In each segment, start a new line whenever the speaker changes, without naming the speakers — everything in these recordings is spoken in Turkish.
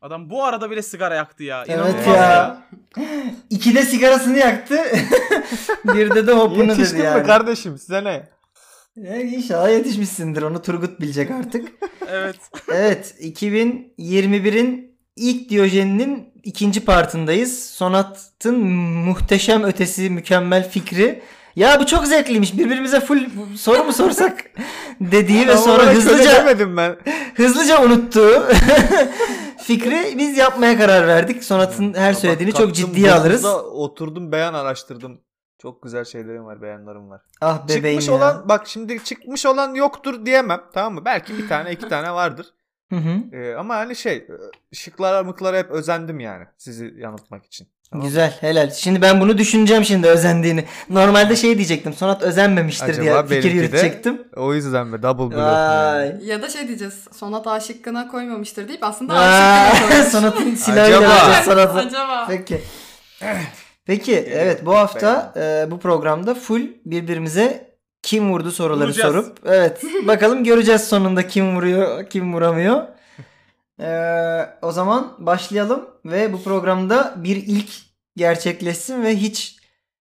Adam bu arada bile sigara yaktı ya. İnanılmaz
Evet ya. İkide sigarasını yaktı. Birde de hopunu dedi
Yetiştin mi
yani.
kardeşim size ne?
E, İnşallah yetişmişsindir. Onu Turgut bilecek artık.
Evet.
evet 2021'in ilk Diyojen'in ikinci partındayız. Sonat'ın muhteşem ötesi mükemmel fikri. Ya bu çok zevkliymiş. Birbirimize full soru mu sorsak dediği ve
Tam
sonra
olarak öyle
hızlıca
demedim ben.
hızlıca unuttuğu fikri biz yapmaya karar verdik. Sonat'ın her
Ya bak,
söylediğini çok
kalktım,
ciddiye alırız.
dokuzda Oturdum beyan araştırdım. Çok güzel şeylerim var, beyanlarım var.
Ah bebeğim
çıkmış
ya.
olan bak şimdi çıkmış olan yoktur diyemem tamam mı? Belki bir tane iki tane vardır.
Hı hı.
Ee, ama hani şey e, şıklara mıklara hep özendim yani sizi yanıltmak için. Tamam mı?
Güzel helal. Şimdi ben bunu düşüneceğim şimdi özendiğini. Normalde şey diyecektim. Sonat özenmemiştir
Acaba
diye fikir
benimki de-
yürütecektim.
O yüzden be double blok.
Vay.
Ya da şey diyeceğiz. Sonat A şıkkına koymamıştır deyip aslında A
Vay.
şıkkına koymuş.
Sonat'ın silahıyla
Acaba?
vuracağız Sonat'ı.
Acaba.
Peki. Peki evet bu hafta e, bu programda full birbirimize kim vurdu soruları
Vuracağız.
sorup evet bakalım göreceğiz sonunda kim vuruyor kim vuramıyor. E, o zaman başlayalım ve bu programda bir ilk gerçekleşsin ve hiç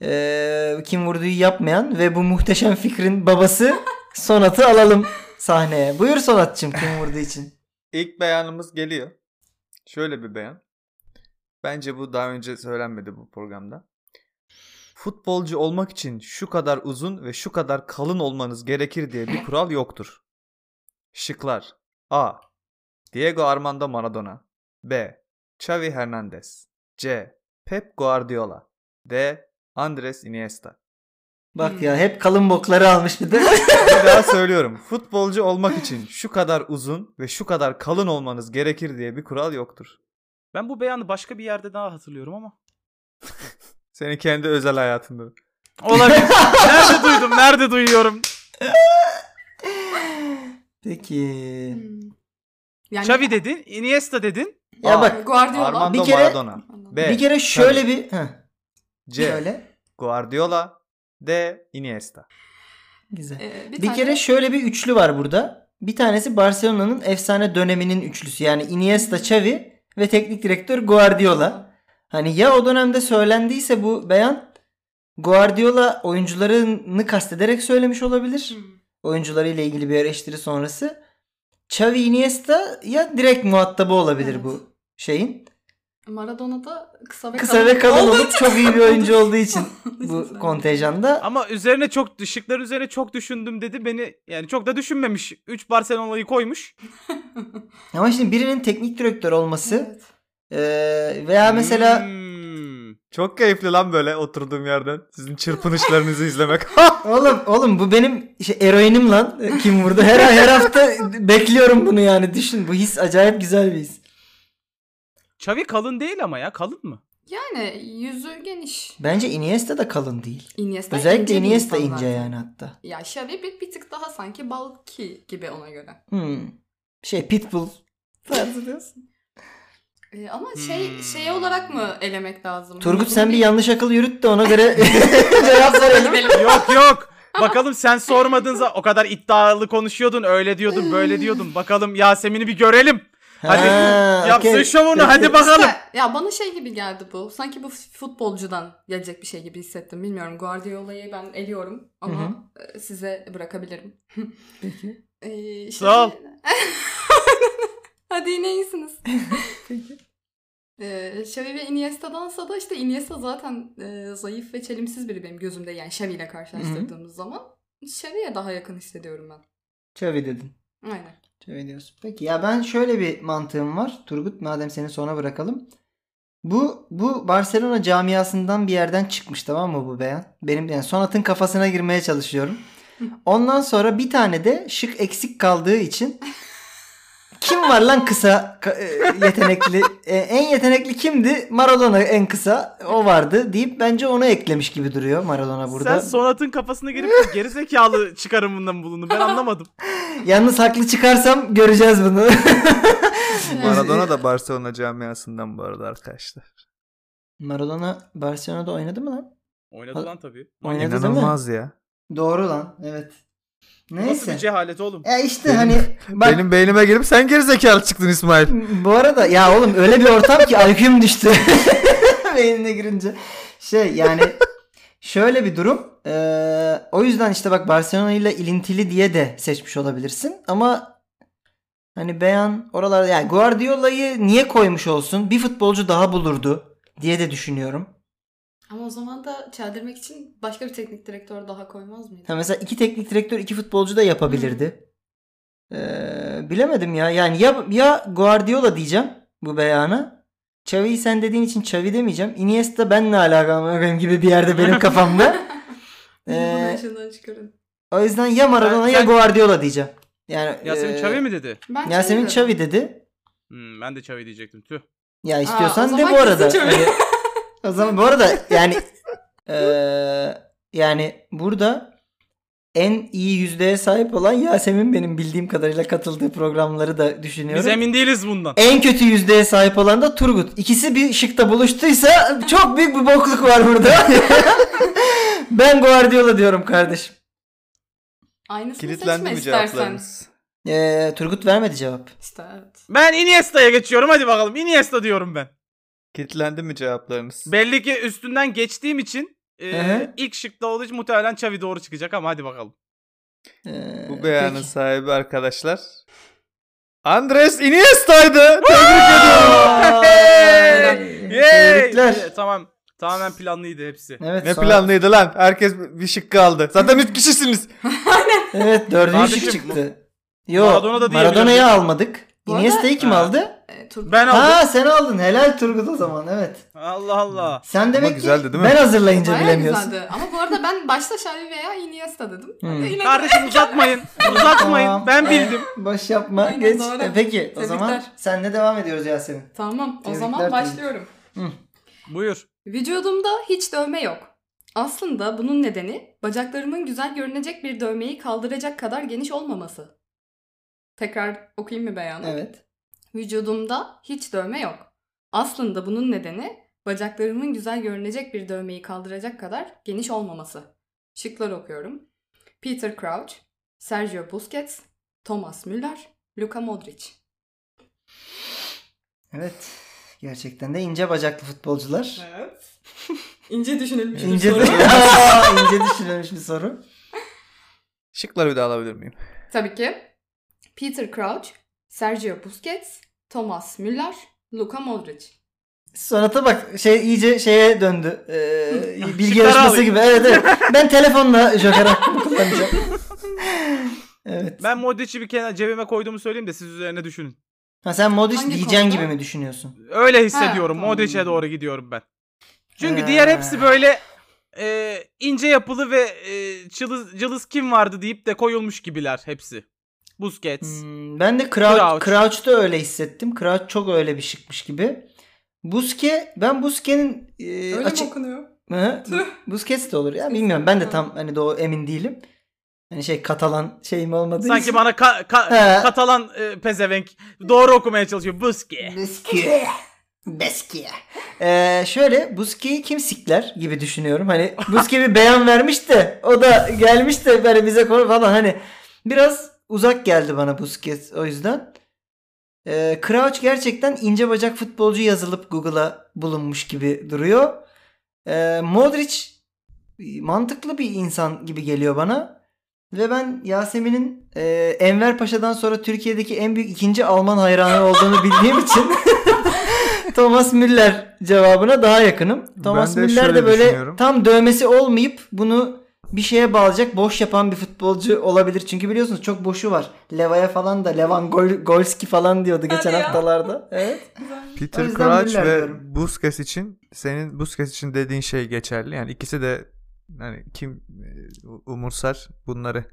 e, kim vurduyu yapmayan ve bu muhteşem fikrin babası Sonat'ı alalım sahneye. Buyur Sonat'cığım kim vurdu için.
İlk beyanımız geliyor. Şöyle bir beyan. Bence bu daha önce söylenmedi bu programda. Futbolcu olmak için şu kadar uzun ve şu kadar kalın olmanız gerekir diye bir kural yoktur. Şıklar A. Diego Armando Maradona B. Xavi Hernandez C. Pep Guardiola D. Andres Iniesta
Bak ya hep kalın bokları almış bir de.
bir daha söylüyorum. Futbolcu olmak için şu kadar uzun ve şu kadar kalın olmanız gerekir diye bir kural yoktur.
Ben bu beyanı başka bir yerde daha hatırlıyorum ama.
Senin kendi özel hayatında.
Olabilir. nerede duydum? Nerede duyuyorum?
Peki.
Hmm. Yani
Xavi dedin, Iniesta dedin.
Ya
Aa,
bak
Guardiola.
Armando
Bir kere-
Maradona. B.
bir kere şöyle bir heh,
C.
şöyle
Guardiola. D. Iniesta.
güzel.
Ee,
bir
tane-
kere şöyle bir üçlü var burada. Bir tanesi Barcelona'nın efsane döneminin üçlüsü. Yani Iniesta, Xavi ve teknik direktör Guardiola. Hani ya o dönemde söylendiyse bu beyan Guardiola oyuncularını kastederek söylemiş olabilir.
Hmm.
Oyuncularıyla ilgili bir eleştiri sonrası. Xavi Iniesta ya direkt muhatabı olabilir
Evet.
bu şeyin.
Maradona da kısa ve
Kısa ve kalın
Olduğu
olup çok iyi bir oyuncu olduğu için
için
bu
sen-
kontenjanda
Ama üzerine çok şıkların üzerine çok düşündüm dedi. Beni yani çok da düşünmemiş. 3 Barcelona'yı koymuş.
Ama şimdi birinin teknik direktör olması
Evet.
eee, veya mesela
Hmm.
Çok keyifli lan böyle oturduğum yerden. Sizin çırpınışlarınızı izlemek.
oğlum oğlum bu benim şey, eroinim lan kim vurdu her her hafta bekliyorum bunu yani düşün bu his acayip güzel bir his.
Xavi kalın değil ama ya. Kalın mı?
Yani yüzü geniş.
Bence Iniesta da kalın değil.
Iniesta
Özellikle
ince bir
Iniesta
insan
ince
zaten.
yani hatta.
Ya Xavi bir, bir tık daha sanki bulky gibi ona göre.
Hmm. Şey Pitbull tarzı diyorsun.
Ee, ama şey
Hmm.
şeye olarak mı elemek lazım? Hani
Turgut
Bunu
sen bir yanlış akıl yürüt de ona göre cevap verelim.
yok yok. Bakalım sen sormadın za- o kadar iddialı konuşuyordun. Öyle diyordun, böyle diyordun. Bakalım Yasemin'i bir görelim. Hadi
Ha,
yapsın
okey.
şovunu hadi bakalım.
İşte, ya bana şey gibi geldi bu. Sanki bu futbolcudan gelecek bir şey gibi hissettim. Bilmiyorum Guardiola'yı ben eliyorum ama e, size bırakabilirim.
Peki.
Ee, işte-
Sağ ol.
hadi yine iyisiniz.
Peki.
Ee, Xavi ve Iniesta'dansa da işte Iniesta zaten e, zayıf ve çelimsiz biri benim gözümde. Yani Xavi ile karşılaştırdığımız zaman Xavi'ye daha yakın hissediyorum ben.
Çavi dedin.
Aynen.
Şöyle diyorsun. Peki ya ben şöyle bir mantığım var. Turgut madem seni sona bırakalım. Bu bu Barcelona camiasından bir yerden çıkmış tamam mı bu beyan? Benim yani Sonat'ın kafasına girmeye çalışıyorum. Ondan sonra bir tane de şık eksik kaldığı için kim var lan kısa ka- e, yetenekli E, en yetenekli kimdi? Maradona en kısa o vardı deyip bence onu eklemiş gibi duruyor Maradona burada.
Sen Sonat'ın kafasına girip gerizekalı çıkarımından bulundun. Ben anlamadım.
Yalnız haklı çıkarsam göreceğiz bunu.
Maradona da Barcelona camiasından bu arada arkadaşlar.
Maradona Barcelona'da oynadı mı lan?
Oynadı lan tabii.
Oynadı değil mi?
İnanılmaz ya.
Doğru lan. Evet.
Nasıl bir
Neyse.
cehalet oğlum?
Ya işte
Benim-
hani bak
Benim beynime girip sen gerizekalı çıktın İsmail.
bu arada ya oğlum öyle bir ortam ki IQ'm düştü. Beynine girince. Şey yani şöyle bir durum. Ee, o yüzden işte bak Barcelona ile ilintili diye de seçmiş olabilirsin. Ama hani beyan oralarda yani Guardiola'yı niye koymuş olsun? Bir futbolcu daha bulurdu diye de düşünüyorum.
Ama o zaman da çeldirmek için başka bir teknik direktör daha koymaz mıydı?
Ha mesela iki teknik direktör iki futbolcu da yapabilirdi. Ee, bilemedim ya. Yani ya, ya Guardiola diyeceğim bu beyana. Xavi'yi sen dediğin için Xavi demeyeceğim. Iniesta benle alakam benim gibi bir yerde benim kafamda.
Bunu
Ee,
başından çıkarın.
o yüzden ya Maradona
Ben-
ya
ben-
Guardiola diyeceğim. Yani
Yasemin
e,
Çavi mi dedi?
Ben
Yasemin
Xavi dedim.
Xavi dedi.
Hmm, ben de Çavi diyecektim. Tüh.
Ya
Aa,
istiyorsan
o
de
zaman
bu arada.
kesin Xavi.
Ee, o zaman bu arada yani e, yani burada en iyi yüzdeye sahip olan Yasemin benim bildiğim kadarıyla katıldığı programları da düşünüyorum.
Biz emin değiliz bundan.
En kötü yüzdeye sahip olan da Turgut. İkisi bir şıkta buluştuysa çok büyük bir bokluk var burada. ben Guardiola diyorum kardeşim.
Aynısını
Kilitlendi
seçme
bu
istersen.
cevaplarımız.
Ee, Turgut vermedi cevap.
İşte evet.
Ben Iniesta'ya geçiyorum hadi bakalım. Iniesta diyorum ben.
Kilitlendi mi cevaplarınız?
Belli ki üstünden geçtiğim için e,
Hı hı.
ilk şıkta olduğu için muhtemelen Çavi doğru çıkacak ama hadi bakalım.
Ee,
Bu beyanın
peki.
sahibi arkadaşlar. Andres Iniesta'ydı.
Vay!
Yay!
Tebrikler.
Evet, Tamam. Tamamen planlıydı hepsi.
Evet,
ne
sonra-
planlıydı lan? Herkes bir şık kaldı. Zaten 3 kişisiniz.
Evet dördüncü
Kardeşim,
şık çıktı. Yo,
Maradona da diyebilirdim.
Maradona'yı almadık.
Bu arada-
Iniesta'yı kim
Ha.
aldı?
Ee, Turgut
Ben aldım.
Ha sen aldın. Helal Turgut o zaman evet.
Allah Allah.
Sen demek
güzeldi,
ki
değil mi?
ben hazırlayınca
bayağı
bilemiyorsun.
güzeldi. Ama bu arada ben başta Xavi veya Iniesta dedim.
Hmm.
Yine de-
Kardeşim uzatmayın. uzatmayın.
Tamam.
Ben bildim.
Boş yapma
Aynen,
geç.
doğru.
E, peki o
Tebrikler.
zaman senle devam ediyoruz Yasemin.
Tamam o
Tebrikler,
zaman
Turgut.
başlıyorum.
Buyur.
Vücudumda hiç dövme yok. Aslında bunun nedeni bacaklarımın güzel görünecek bir dövmeyi kaldıracak kadar geniş olmaması. Tekrar okuyayım mı beyanı?
Evet.
Vücudumda hiç dövme yok. Aslında bunun nedeni bacaklarımın güzel görünecek bir dövmeyi kaldıracak kadar geniş olmaması. Şıklar okuyorum. Peter Crouch, Sergio Busquets, Thomas Müller, Luka Modric.
Evet. Gerçekten de ince bacaklı futbolcular.
Evet. İnce düşünülmüş bir
İnce,
soru.
Aa, ince düşünülmüş bir soru.
Şıkları bir daha alabilir miyim?
Tabii ki. Peter Crouch, Sergio Busquets, Thomas Müller, Luka Modric.
Sonata bak şey iyice şeye döndü. Ee, bilgi
Şıkları
yarışması
alayım.
gibi. Evet evet. Ben telefonla joker hakkımı kullanacağım. Evet.
Ben Modric'i bir kenara cebime koyduğumu söyleyeyim de siz üzerine düşünün.
Ha sen Modric
Hangi
diyeceğin
konuda?
gibi mi düşünüyorsun?
Öyle hissediyorum.
Ha, tamam.
Modric'e doğru gidiyorum ben. Çünkü
Ee.
diğer hepsi böyle e, ince yapılı ve e, cılız, cılız kim vardı deyip de koyulmuş gibiler hepsi. Busquets.
Hmm, ben de Crouch,
Crouch.
Crouch'ta öyle hissettim. Crouch çok öyle bir şıkmış gibi. Buske ben Busque'nin e,
Öyle
açık
mi okunuyor?
Hı,
Tüh.
Busquets de olur ya bilmiyorum. Ben de
Hı.
tam hani doğu emin değilim. Hani şey Katalan şeyim olmadığı
Sanki
için.
bana ka- ka-
He.
Katalan e, pezevenk doğru okumaya çalışıyor.
Hmm.
Busquets.
Busque. Busque. Ee, şöyle Busque'yi kim sikler gibi düşünüyorum. Hani Busque bir beyan vermiş de o da gelmiş de böyle bize konu falan hani biraz uzak geldi bana Busquets o yüzden. Ee, Crouch gerçekten ince bacak futbolcu yazılıp Google'a bulunmuş gibi duruyor. Ee, Modric mantıklı bir insan gibi geliyor bana. Ve ben Yasemin'in e, Enver Paşa'dan sonra Türkiye'deki en büyük ikinci Alman hayranı olduğunu bildiğim için Thomas Müller cevabına daha yakınım. Thomas
de
Müller
şöyle
de böyle
düşünüyorum.
tam dövmesi olmayıp bunu bir şeye bağlayacak boş yapan bir futbolcu olabilir. Çünkü biliyorsunuz çok boşu var. Leva'ya falan da Levan Gol, Golski falan diyordu
Hadi
geçen
ya.
haftalarda. Evet. O
Peter
yüzden
Crouch
Müller
ve
diyorum.
Busquets için senin Busquets için dediğin şey geçerli. Yani ikisi de yani kim e, umursar bunları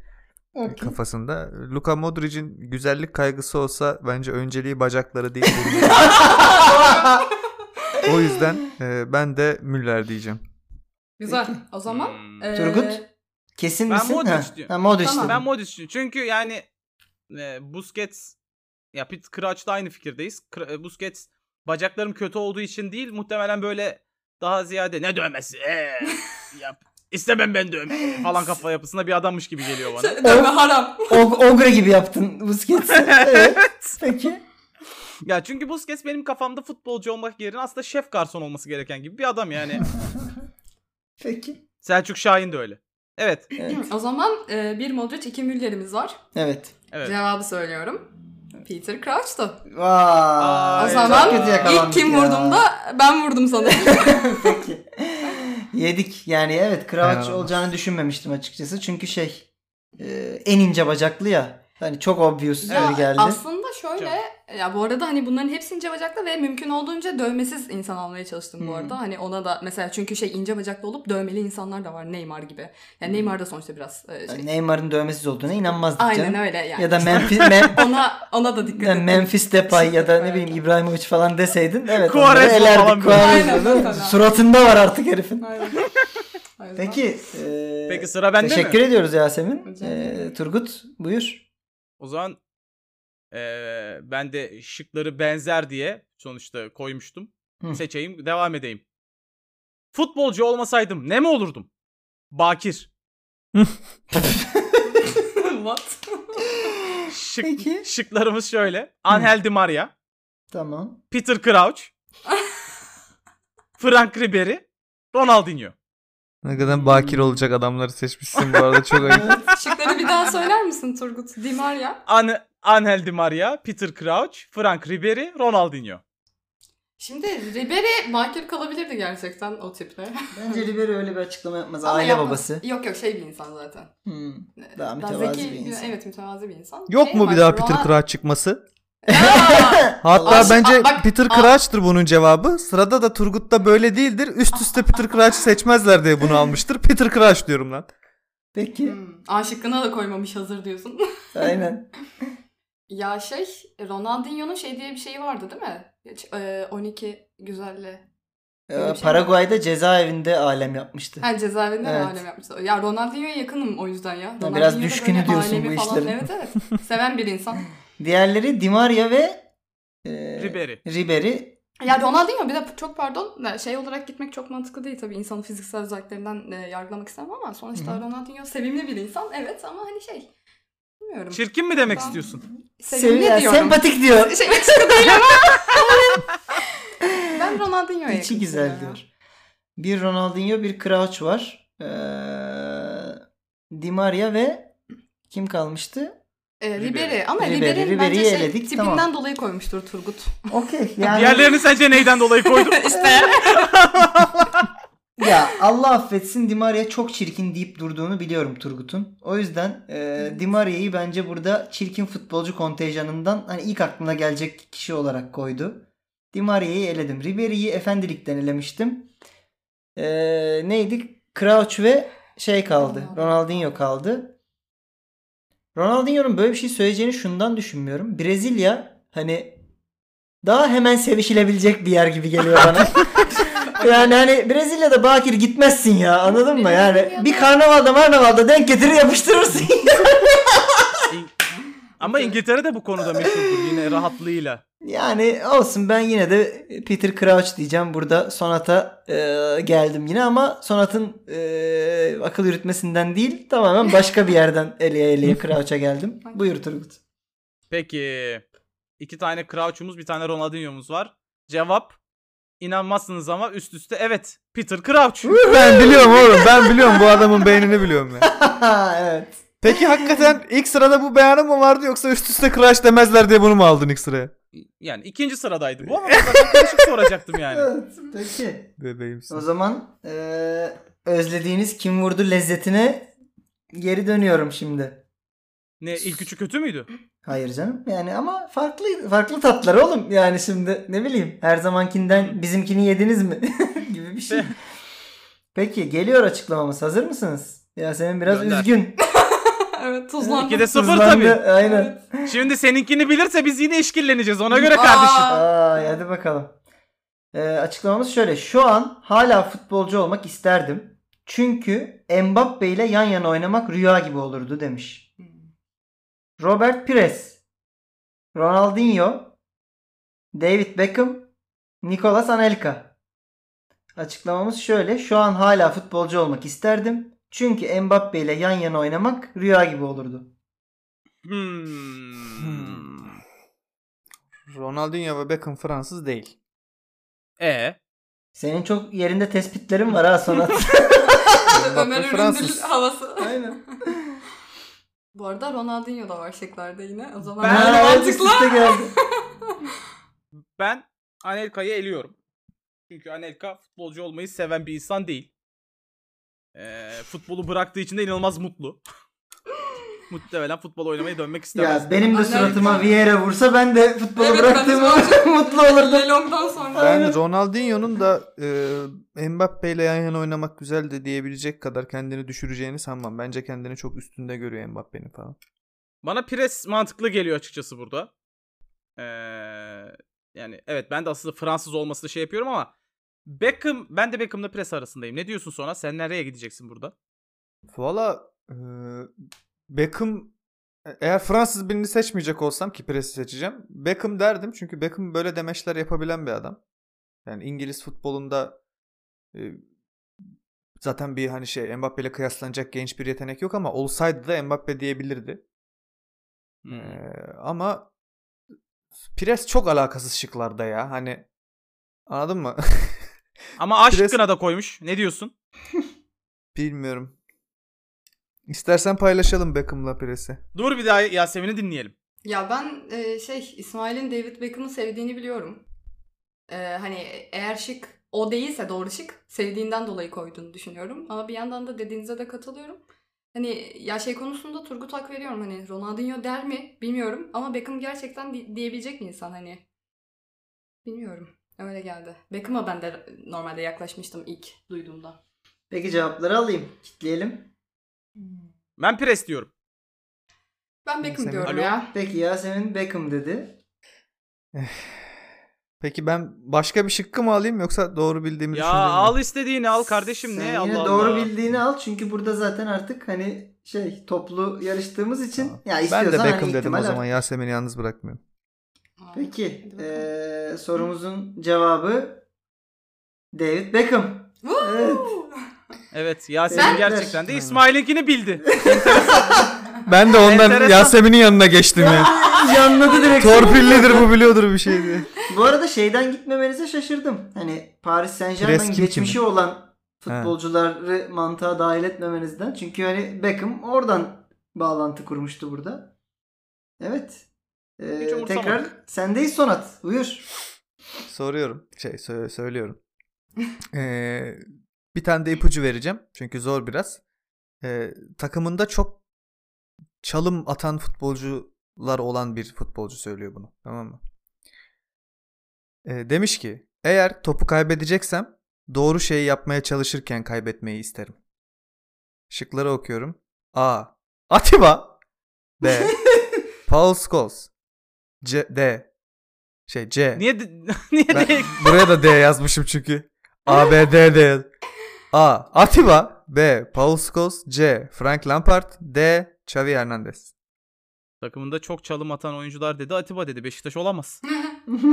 kafasında. Luka Modric'in güzellik kaygısı olsa bence önceliği bacakları değil. burnu. o yüzden e, ben de Müller diyeceğim.
Güzel. O zaman...
Hmm.
eee,
Turgut? Kesin
Ben
misin?
Modric
Ha,
diyorum.
ha, Modric
Tamam,
dedim.
Ben Modric için. Çünkü yani e, Busquets ya Pit Crouch'ta aynı fikirdeyiz. Kra- e, Busquets bacaklarım kötü olduğu için değil muhtemelen böyle daha ziyade ne dövmesi ee, yap İstemem ben dövme falan kafa yapısında bir adammış gibi geliyor bana.
Şey, Dövme haram.
Og- ogre gibi yaptın Busquets'i. Evet. Peki.
Ya çünkü Busquets benim kafamda futbolcu olmak yerine aslında şef garson olması gereken gibi bir adam yani.
Peki.
Selçuk Şahin de öyle. Evet.
Evet.
o zaman e, bir Modric, iki Müller'imiz var.
evet.
Evet.
Cevabı söylüyorum. Peter Crouch'tu.
Vay.
Ay,
o
çok
zaman
kötü
ilk
yakalandık
kim
ya.
vurduğumda ben vurdum sana.
Peki. Yedik. Yani evet Crouch
Helal
olacağını düşünmemiştim açıkçası. Çünkü şey e, en ince bacaklı ya. Hani çok obvious
Ya
gibi geldi.
aslında şöyle ya bu arada hani bunların hepsi ince bacaklı ve mümkün olduğunca dövmesiz insan almaya çalıştım bu
Hmm.
arada. Hani ona da mesela çünkü şey ince bacaklı olup dövmeli insanlar da var Neymar gibi.
Hmm.
Yani Neymar da sonuçta biraz e, şey.
Yani Hani Neymar'ın dövmesiz olduğuna inanmazdık
Aynen
canım.
öyle yani.
Ya da Memphis, Mem-
ona ona da dikkat
yani
ettim.
Memphis Depay ya da ne
Evet.
bileyim İbrahimovic falan deseydin evet
Quaresma
onları elerdik.
falan böyle.
Quaresma,
Aynen,
değil mi?
mesela.
Suratında var artık herifin.
Aynen. Aynen.
Peki. e,
Peki sıra bende mi?
teşekkür ediyoruz Yasemin.
Rica
E,
ederim.
Turgut buyur.
O zaman eee, ben de şıkları benzer diye sonuçta koymuştum.
Hı.
Seçeyim, devam edeyim. Futbolcu olmasaydım ne mi olurdum? Bakir.
What?
Şık,
Peki.
Şıklarımız şöyle. Angel Di Maria,
Tamam.
Peter Crouch, Frank Ribery, Ronaldinho.
Ne kadar bakir olacak adamları seçmişsin bu arada çok ayıp.
Şıkları bir daha söyler misin Turgut? Di Maria.
An Angel Di Maria, Peter Crouch, Frank Ribery, Ronaldinho.
Şimdi Ribery bakir kalabilirdi gerçekten o tiple.
Bence Ribery öyle bir açıklama yapmaz.
Ama
Aile
yapmaz.
babası.
Yok yok şey bir insan zaten.
Hmm.
Ee,
Daha mütevazi
zeki-
bir insan.
Evet mütevazi bir insan.
Yok
Şey
mu
Neymar,
bir daha Peter
Ronald-
Crouch çıkması?
Aa!
Hatta
Aa,
bence
aa, bak-
Peter Crouch'tır bunun cevabı. Sırada da Turgut'ta böyle değildir. Üst üste Peter Crouch seçmezler diye bunu almıştır. Peter Crouch diyorum lan.
Peki.
Hmm, A şıkkına da koymamış hazır diyorsun.
Aynen.
ya şey Ronaldinho'nun şey diye bir şeyi vardı değil mi? Hiç, e, 12 güzelle. Öyle
Ee,
bir şey
Paraguay'da cezaevinde alem yapmıştı.
Her cezaevinde
Evet.
evet. alem yapmıştı. Ya Ronaldinho'ya yakınım o yüzden ya. Ronaldinho
biraz
da
düşkünü
böyle
diyorsun
alemi
bu
falan-
işlerin.
Evet evet. Seven bir insan.
Diğerleri Di Maria ve e,
Ribery.
Ribery.
Ya Ronaldinho bir de çok pardon da şey olarak gitmek çok mantıklı değil tabii insanın fiziksel özelliklerinden e, yargılamak istemem ama sonuçta
Hı
Ronaldinho sevimli bir insan evet ama hani şey bilmiyorum.
Çirkin mi demek
Ben-
istiyorsun?
Sev-
sevimli
Şey, ya,
diyorum.
Sempatik diyor.
şey eksik değil ama. ben Ronaldinho'ya
İçi
yakınsın
güzel
ya.
diyor. Bir Ronaldinho, bir Crouch var. Ee, Di Maria ve kim kalmıştı?
E,
Ribery.
Ribery ama
Ribery,
Ribery'nin bence
Ribery'i
şey
eledik,
tipinden
tamam.
dolayı koymuştur Turgut.
Okey. Yani...
Diğerlerini sence neyden dolayı koydum?
işte.
Ya Allah affetsin Dimaria çok çirkin deyip durduğunu biliyorum Turgut'un. O yüzden e, Dimaria'yı bence burada çirkin futbolcu kontenjanından hani ilk aklına gelecek kişi olarak koydu. Dimaria'yı eledim. Ribery'yi efendilikten elemiştim. E, neydi? Crouch ve şey kaldı.
Ronaldo.
Ronaldinho kaldı. Ronaldinho'nun böyle bir şey söyleyeceğini şundan düşünmüyorum. Brezilya hani daha hemen sevişilebilecek bir yer gibi geliyor bana. Yani hani Brezilya'da bakir gitmezsin ya anladın mı? Yani
Brezilya'da-
bir karnavalda marnavalda denk getirir yapıştırırsın.
İng- Ama İngiltere'de bu konuda meşhurdur yine rahatlığıyla.
yani olsun ben yine de Peter Crouch diyeceğim. Burada Sonat'a e, geldim yine ama Sonat'ın e, akıl yürütmesinden değil tamamen başka bir yerden eleye eleye Crouch'a geldim. Buyur Turgut.
Peki. iki tane Crouch'umuz, bir tane Ronaldinho'muz var. Cevap inanmazsınız ama üst üste evet. Peter Crouch.
Ben biliyorum oğlum ben biliyorum bu adamın beynini biliyorum ya.
evet.
Peki hakikaten ilk sırada bu beyanı mı vardı yoksa üst üste Crouch demezler diye bunu mu aldın ilk sıraya?
Yani ikinci sıradaydı bu ama zaten karışık soracaktım yani.
Evet. Peki.
Bebeğimsin.
O zaman e, özlediğiniz kim vurdu lezzetine geri dönüyorum şimdi.
Ne ilk üçü kötü müydü?
Hayır canım. Yani ama farklı farklı tatlar oğlum. Yani şimdi ne bileyim her zamankinden bizimkini yediniz mi gibi bir şey. Peki geliyor açıklamamız. Hazır mısınız? Yasemin biraz
Gönder.
üzgün.
evet tuzlandı.
İki de sıfır
Hızlandı.
tabii.
Aynen.
Şimdi seninkini bilirse biz yine işkilleneceğiz ona göre kardeşim.
Aa.
Ay hadi bakalım. Ee, açıklamamız şöyle. Şu an hala futbolcu olmak isterdim. Çünkü Mbappe ile yan yana oynamak rüya gibi olurdu demiş. Robert Pires, Ronaldinho, David Beckham, Nicolas Anelka. Açıklamamız şöyle. Şu an hala futbolcu olmak isterdim. Çünkü Mbappe ile yan yana oynamak rüya gibi olurdu.
Hmm.
Ronaldinho ve Beckham Fransız değil.
E
Senin çok yerinde tespitlerin var ha Sonat.
Ömer
Mbappe
Üründül
Fransız.
havası.
Aynen.
Bu arada Ronaldinho da var şıklarda yine. O zaman
Ben-
ben
Ha, evet,
mantıklı.
üst üste geldi.
ben Anelka'yı eliyorum. Çünkü Anelka futbolcu olmayı seven bir insan değil. Ee, futbolu bıraktığı için de inanılmaz mutlu. Muhtemelen futbol oynamaya dönmek istemez.
Ya benim de
Anelka-
suratıma Vieira vursa ben de futbolu
Evet, ben de
bıraktığıma
futbolcu-
mutlu olurdum.
Lelong'dan sonra.
Ben Ronaldinho'nun da e, Mbappe ile yan yana oynamak güzel de diyebilecek kadar kendini düşüreceğini sanmam. Bence kendini çok üstünde görüyor Mbappe'nin falan.
Bana pres mantıklı geliyor açıkçası burada. Ee, yani evet ben de aslında Fransız olmasını şey yapıyorum ama Beckham ben de Beckham'la pres arasındayım. Ne diyorsun sonra? Sen nereye gideceksin burada?
Valla e, Beckham e, eğer Fransız birini seçmeyecek olsam ki Presi seçeceğim. Beckham derdim çünkü Beckham böyle demeçler yapabilen bir adam. Yani İngiliz futbolunda e, zaten bir hani şey Mbappe ile kıyaslanacak genç bir yetenek yok ama olsaydı da Mbappe diyebilirdi.
Hmm.
Ee, ama Pires çok alakasız şıklarda ya. Hani anladın mı?
Ama A
Pres-
şıkkına da koymuş. Ne diyorsun?
Bilmiyorum. İstersen paylaşalım Beckham'la Pires'i.
Dur bir daha Yasemin'i dinleyelim.
Ya ben e, şey İsmail'in David Beckham'ı sevdiğini biliyorum. E, hani eğer şık o değilse doğru şık sevdiğinden dolayı koyduğunu düşünüyorum. Ama bir yandan da dediğinize de katılıyorum. Hani ya şey konusunda Turgut hak veriyorum hani Ronaldinho der mi bilmiyorum ama Beckham gerçekten di- diyebilecek bir insan hani. Bilmiyorum. Öyle geldi. Beckham'a ben de normalde yaklaşmıştım ilk duyduğumda.
Peki cevapları alayım. Kitleyelim.
Ben pres diyorum.
Ben Beckham
Semih-
diyorum
Alo?
ya.
Peki Yasemin Beckham dedi.
Peki ben başka bir şıkkı mı alayım yoksa doğru bildiğimi
Ya
düşündüğüm mü?
al istediğini al kardeşim
Sen
ne
yine
Allah
doğru
Allah.
bildiğini al çünkü burada zaten artık hani şey toplu yarıştığımız için
Tamam.
ya
Ben
istiyorsan
de Beckham
hani
dedim o
ihtimal
zaman Yasemin'i yalnız bırakmıyorum.
Aa,
Peki e,
hadi bakalım.
eee, sorumuzun cevabı David Beckham.
Woo!
evet.
Evet Yasemin
Tebrikler.
gerçekten de
Evet.
İsmail'inkini bildi.
Ben de ondan
Enteresan.
Yasemin'in yanına geçtim ya.
Yanladı direkt.
Torpillidir bu biliyordur bir şey diye.
Bu arada şeyden gitmemenize şaşırdım. Hani Paris Saint Germain
Pres kim
geçmişi olan futbolcuları mantığa dahil etmemenizden. Çünkü hani Beckham oradan bağlantı kurmuştu burada. Evet. Eee,
Hiç umursamadık.
tekrar sendeyiz Sonat. Buyur.
Soruyorum. Şey sö- söylüyorum. Ee, bir tane de ipucu vereceğim. Çünkü zor biraz. Ee, takımında çok çalım atan futbolcular olan bir futbolcu söylüyor bunu. Tamam mı? Ee, demiş ki eğer topu kaybedeceksem doğru şeyi yapmaya çalışırken kaybetmeyi isterim. Şıkları okuyorum. A. Atiba B. Paul Scholes C. D. Şey C.
Niye de- niye
Ben
de-
buraya da D yazmışım çünkü. A, B, D, D. A. Atiba. B. Paul Scholes. C. Frank Lampard. D. Xavi Hernandez.
Takımında çok çalım atan oyuncular dedi Atiba dedi Beşiktaş olamaz.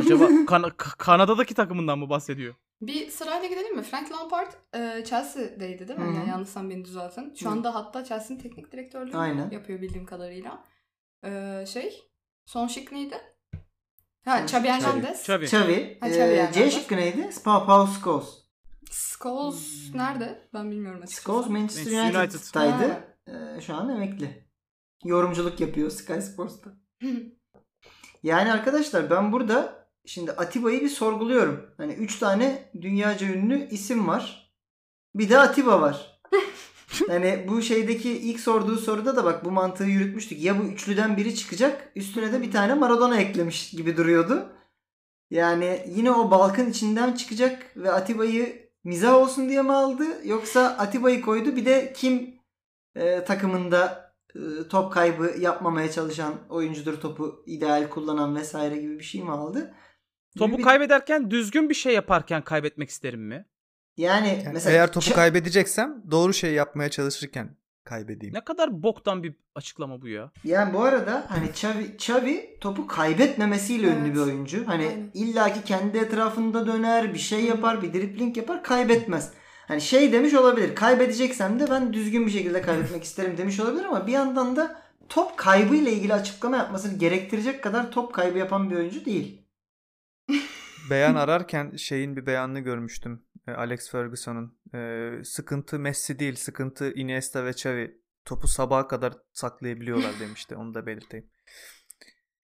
Acaba Kan- Ka- Kanada'daki takımından mı bahsediyor?
Bir sırayla gidelim mi? Frank Lampard e, Chelsea'deydi değil mi?
Hı hı.
Yani yanlışsam beni düzeltin. Şu
Hı.
anda hatta Chelsea'nin teknik direktörlüğünü
Aynen.
yapıyor bildiğim kadarıyla. E, şey, son şık neydi? Ha,
Son
Xabi
şık-
Hernandez.
Xavi.
Xavi.
Ha, Xavi
Eee,
yani.
C şıkkı neydi? Spa Paul Scholes.
Scholes nerede? Ben bilmiyorum açıkçası.
Hmm. Scholes Manchester
Manchester United.
United'taydı.
Ha.
Ee, şu an emekli. Yorumculuk yapıyor Sky Sports'ta. Yani arkadaşlar ben burada şimdi Atiba'yı bir sorguluyorum. Hani 3 tane dünyaca ünlü isim var. Bir de Atiba var. Yani bu şeydeki ilk sorduğu soruda da bak bu mantığı yürütmüştük. Ya bu üçlüden biri çıkacak üstüne de bir tane Maradona eklemiş gibi duruyordu. Yani yine o balkın içinden çıkacak ve Atiba'yı mizah olsun diye mi aldı? Yoksa Atiba'yı koydu bir de kim e, takımında e, top kaybı yapmamaya çalışan oyuncudur topu ideal kullanan vesaire gibi bir şey mi aldı?
Topu
Bir-
kaybederken düzgün bir şey yaparken kaybetmek isterim mi?
Yani,
Yani
mesela
eğer topu
Ç-
kaybedeceksem doğru şeyi yapmaya çalışırken kaybedeyim.
Ne kadar boktan bir açıklama bu ya.
Yani bu arada hani Xavi, Xavi topu kaybetmemesiyle
Evet.
ünlü bir oyuncu. Hani
Aynen.
illaki kendi etrafında döner, bir şey yapar, bir dribling yapar, kaybetmez. Hani şey demiş olabilir. Kaybedeceksem de ben düzgün bir şekilde kaybetmek isterim demiş olabilir ama bir yandan da top kaybıyla ilgili açıklama yapmasını gerektirecek kadar top kaybı yapan bir oyuncu değil.
Beyan ararken şeyin bir beyanını görmüştüm. e, Alex Ferguson'un. E, sıkıntı Messi değil, sıkıntı Iniesta ve Xavi. Topu sabaha kadar saklayabiliyorlar demişti. Onu da belirteyim.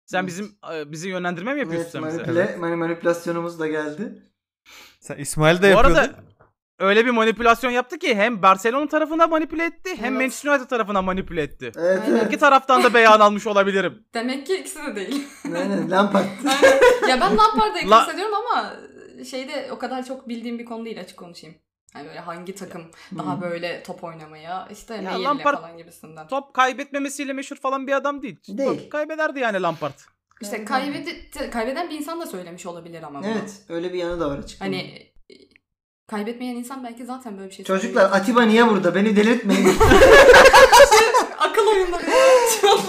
Sen
Evet.
bizim e, bizi yönlendirme mi yapıyorsun
Evet,
sen bize?
manipüle, mani- manipülasyonumuz da geldi.
Sen İsmail de
Bu
yapıyordun.
arada öyle bir manipülasyon yaptı ki hem Barcelona tarafına manipüle etti hem
Evet.
Manchester United tarafına manipüle etti.
Evet,
Aynen.
evet.
İki taraftan da beyan almış olabilirim.
Demek ki ikisi de değil.
Aynen, Lampard.
Aynen. ya ben Lampard'a yakın
La-
hissediyorum ama şeyde o kadar çok bildiğim bir konu değil açık konuşayım. Hani böyle hangi takım daha böyle top oynamaya işte
Ya
Meyer'le
Lampard-
falan gibisinden.
Top kaybetmemesiyle meşhur falan bir adam değil.
Değil.
Top kaybederdi yani Lampard.
İşte kaybedi- kaybeden bir insan da söylemiş olabilir ama bunu.
Evet öyle bir yanı da var açıkçası.
Hani e, kaybetmeyen insan belki zaten böyle bir şey
Çocuklar Atiba niye burada? Beni delirtmeyin.
söylüyor. akıl oyunları.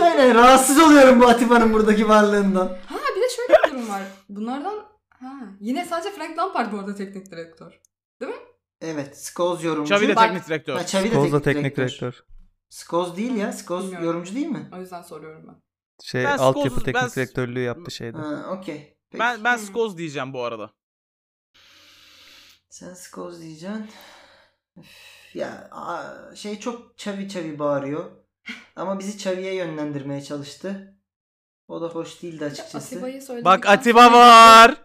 Aynen rahatsız oluyorum bu Atiba'nın buradaki varlığından.
ha bir de şöyle bir durum var. Bunlardan ha, yine sadece Frank Lampard bu arada teknik direktör.
Evet Skoz yorumcu.
Xavi de
Bak-
teknik direktör.
Ha, Xavi de
Koz da
teknik
teknik
direktör.
direktör.
Skoz değil ya. Skoz
Bilmiyorum.
yorumcu değil mi?
O yüzden soruyorum ben.
Şey
Ben
altyapı
Scholes'uz,
teknik
ben-
direktörlüğü yaptı şeyde.
Ha, okey. Peki.
Ben ben
Hmm.
Skoz diyeceğim bu arada.
Sen Skoz diyeceksin. Üf, ya aa, şey çok çavi çavi bağırıyor. Ama bizi çaviye yönlendirmeye çalıştı. O da hoş değildi açıkçası.
Atiba'yı söyledik.
Bak Atiba var.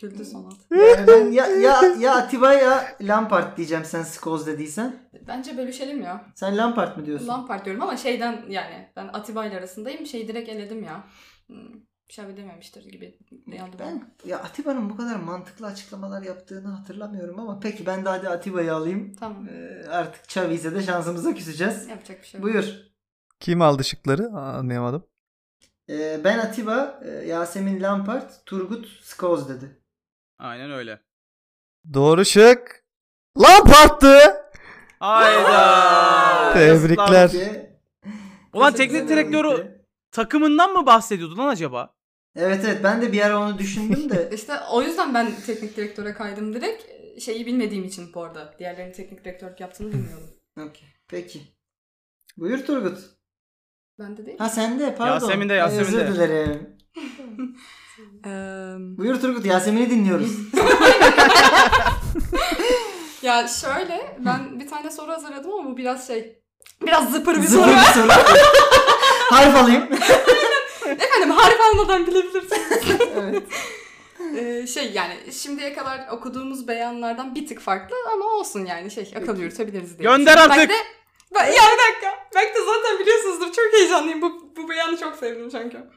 Kültü sanat.
Yani ben ya, ya, ya Atiba ya Lampard diyeceğim sen Skoz dediysen.
Bence bölüşelim ya.
Sen Lampard mı diyorsun?
Lampard diyorum ama şeyden yani ben Atiba ile arasındayım. Şeyi direkt eledim ya. Hmm, Bir şey dememiştir gibi. Yandı ben.
Ben ya Atiba'nın bu kadar mantıklı açıklamalar yaptığını hatırlamıyorum ama peki ben de hadi Atiba'yı alayım.
Tamam.
Ee, artık Xavi'se de şansımıza küseceğiz.
Yapacak bir şey yok.
Buyur.
Kim aldı şıkları? Aa, Anlayamadım.
Ee, ben Atiba, e, Yasemin Lampard, Turgut Skoz dedi.
Aynen öyle.
Doğru şık. Lampard'tı.
Hayda.
Tebrikler.
Yazıklar.
Peki.
Ulan
Teşekkür
teknik
ederim.
direktörü takımından mı bahsediyordu lan acaba?
Evet evet ben de bir ara onu düşündüm de.
İşte o yüzden ben teknik direktöre kaydım direkt. Şeyi bilmediğim için bu arada. Diğerlerinin teknik direktörlük yaptığını bilmiyordum.
Okey, Peki. Buyur Turgut.
Ben de değil.
Ha sen de pardon.
Yasemin de,
Ay,
Yasemin
Özür
de.
dilerim.
Eee,
Buyur Turgut Yasemin'i dinliyoruz.
ya şöyle ben bir tane soru hazırladım ama bu biraz şey biraz zıpır bir
Zıpır
soru.
bir soru. Harf alayım.
Efendim harf almadan bilebilirsiniz.
evet.
Ee, şey yani şimdiye kadar okuduğumuz beyanlardan bir tık farklı ama olsun yani şey akıl yürütebiliriz diye.
Gönder
düşünüyorum.
artık.
Belki de, ben, ya bir dakika. Belki de zaten biliyorsunuzdur. Çok heyecanlıyım. Bu, bu beyanı çok sevdim çünkü.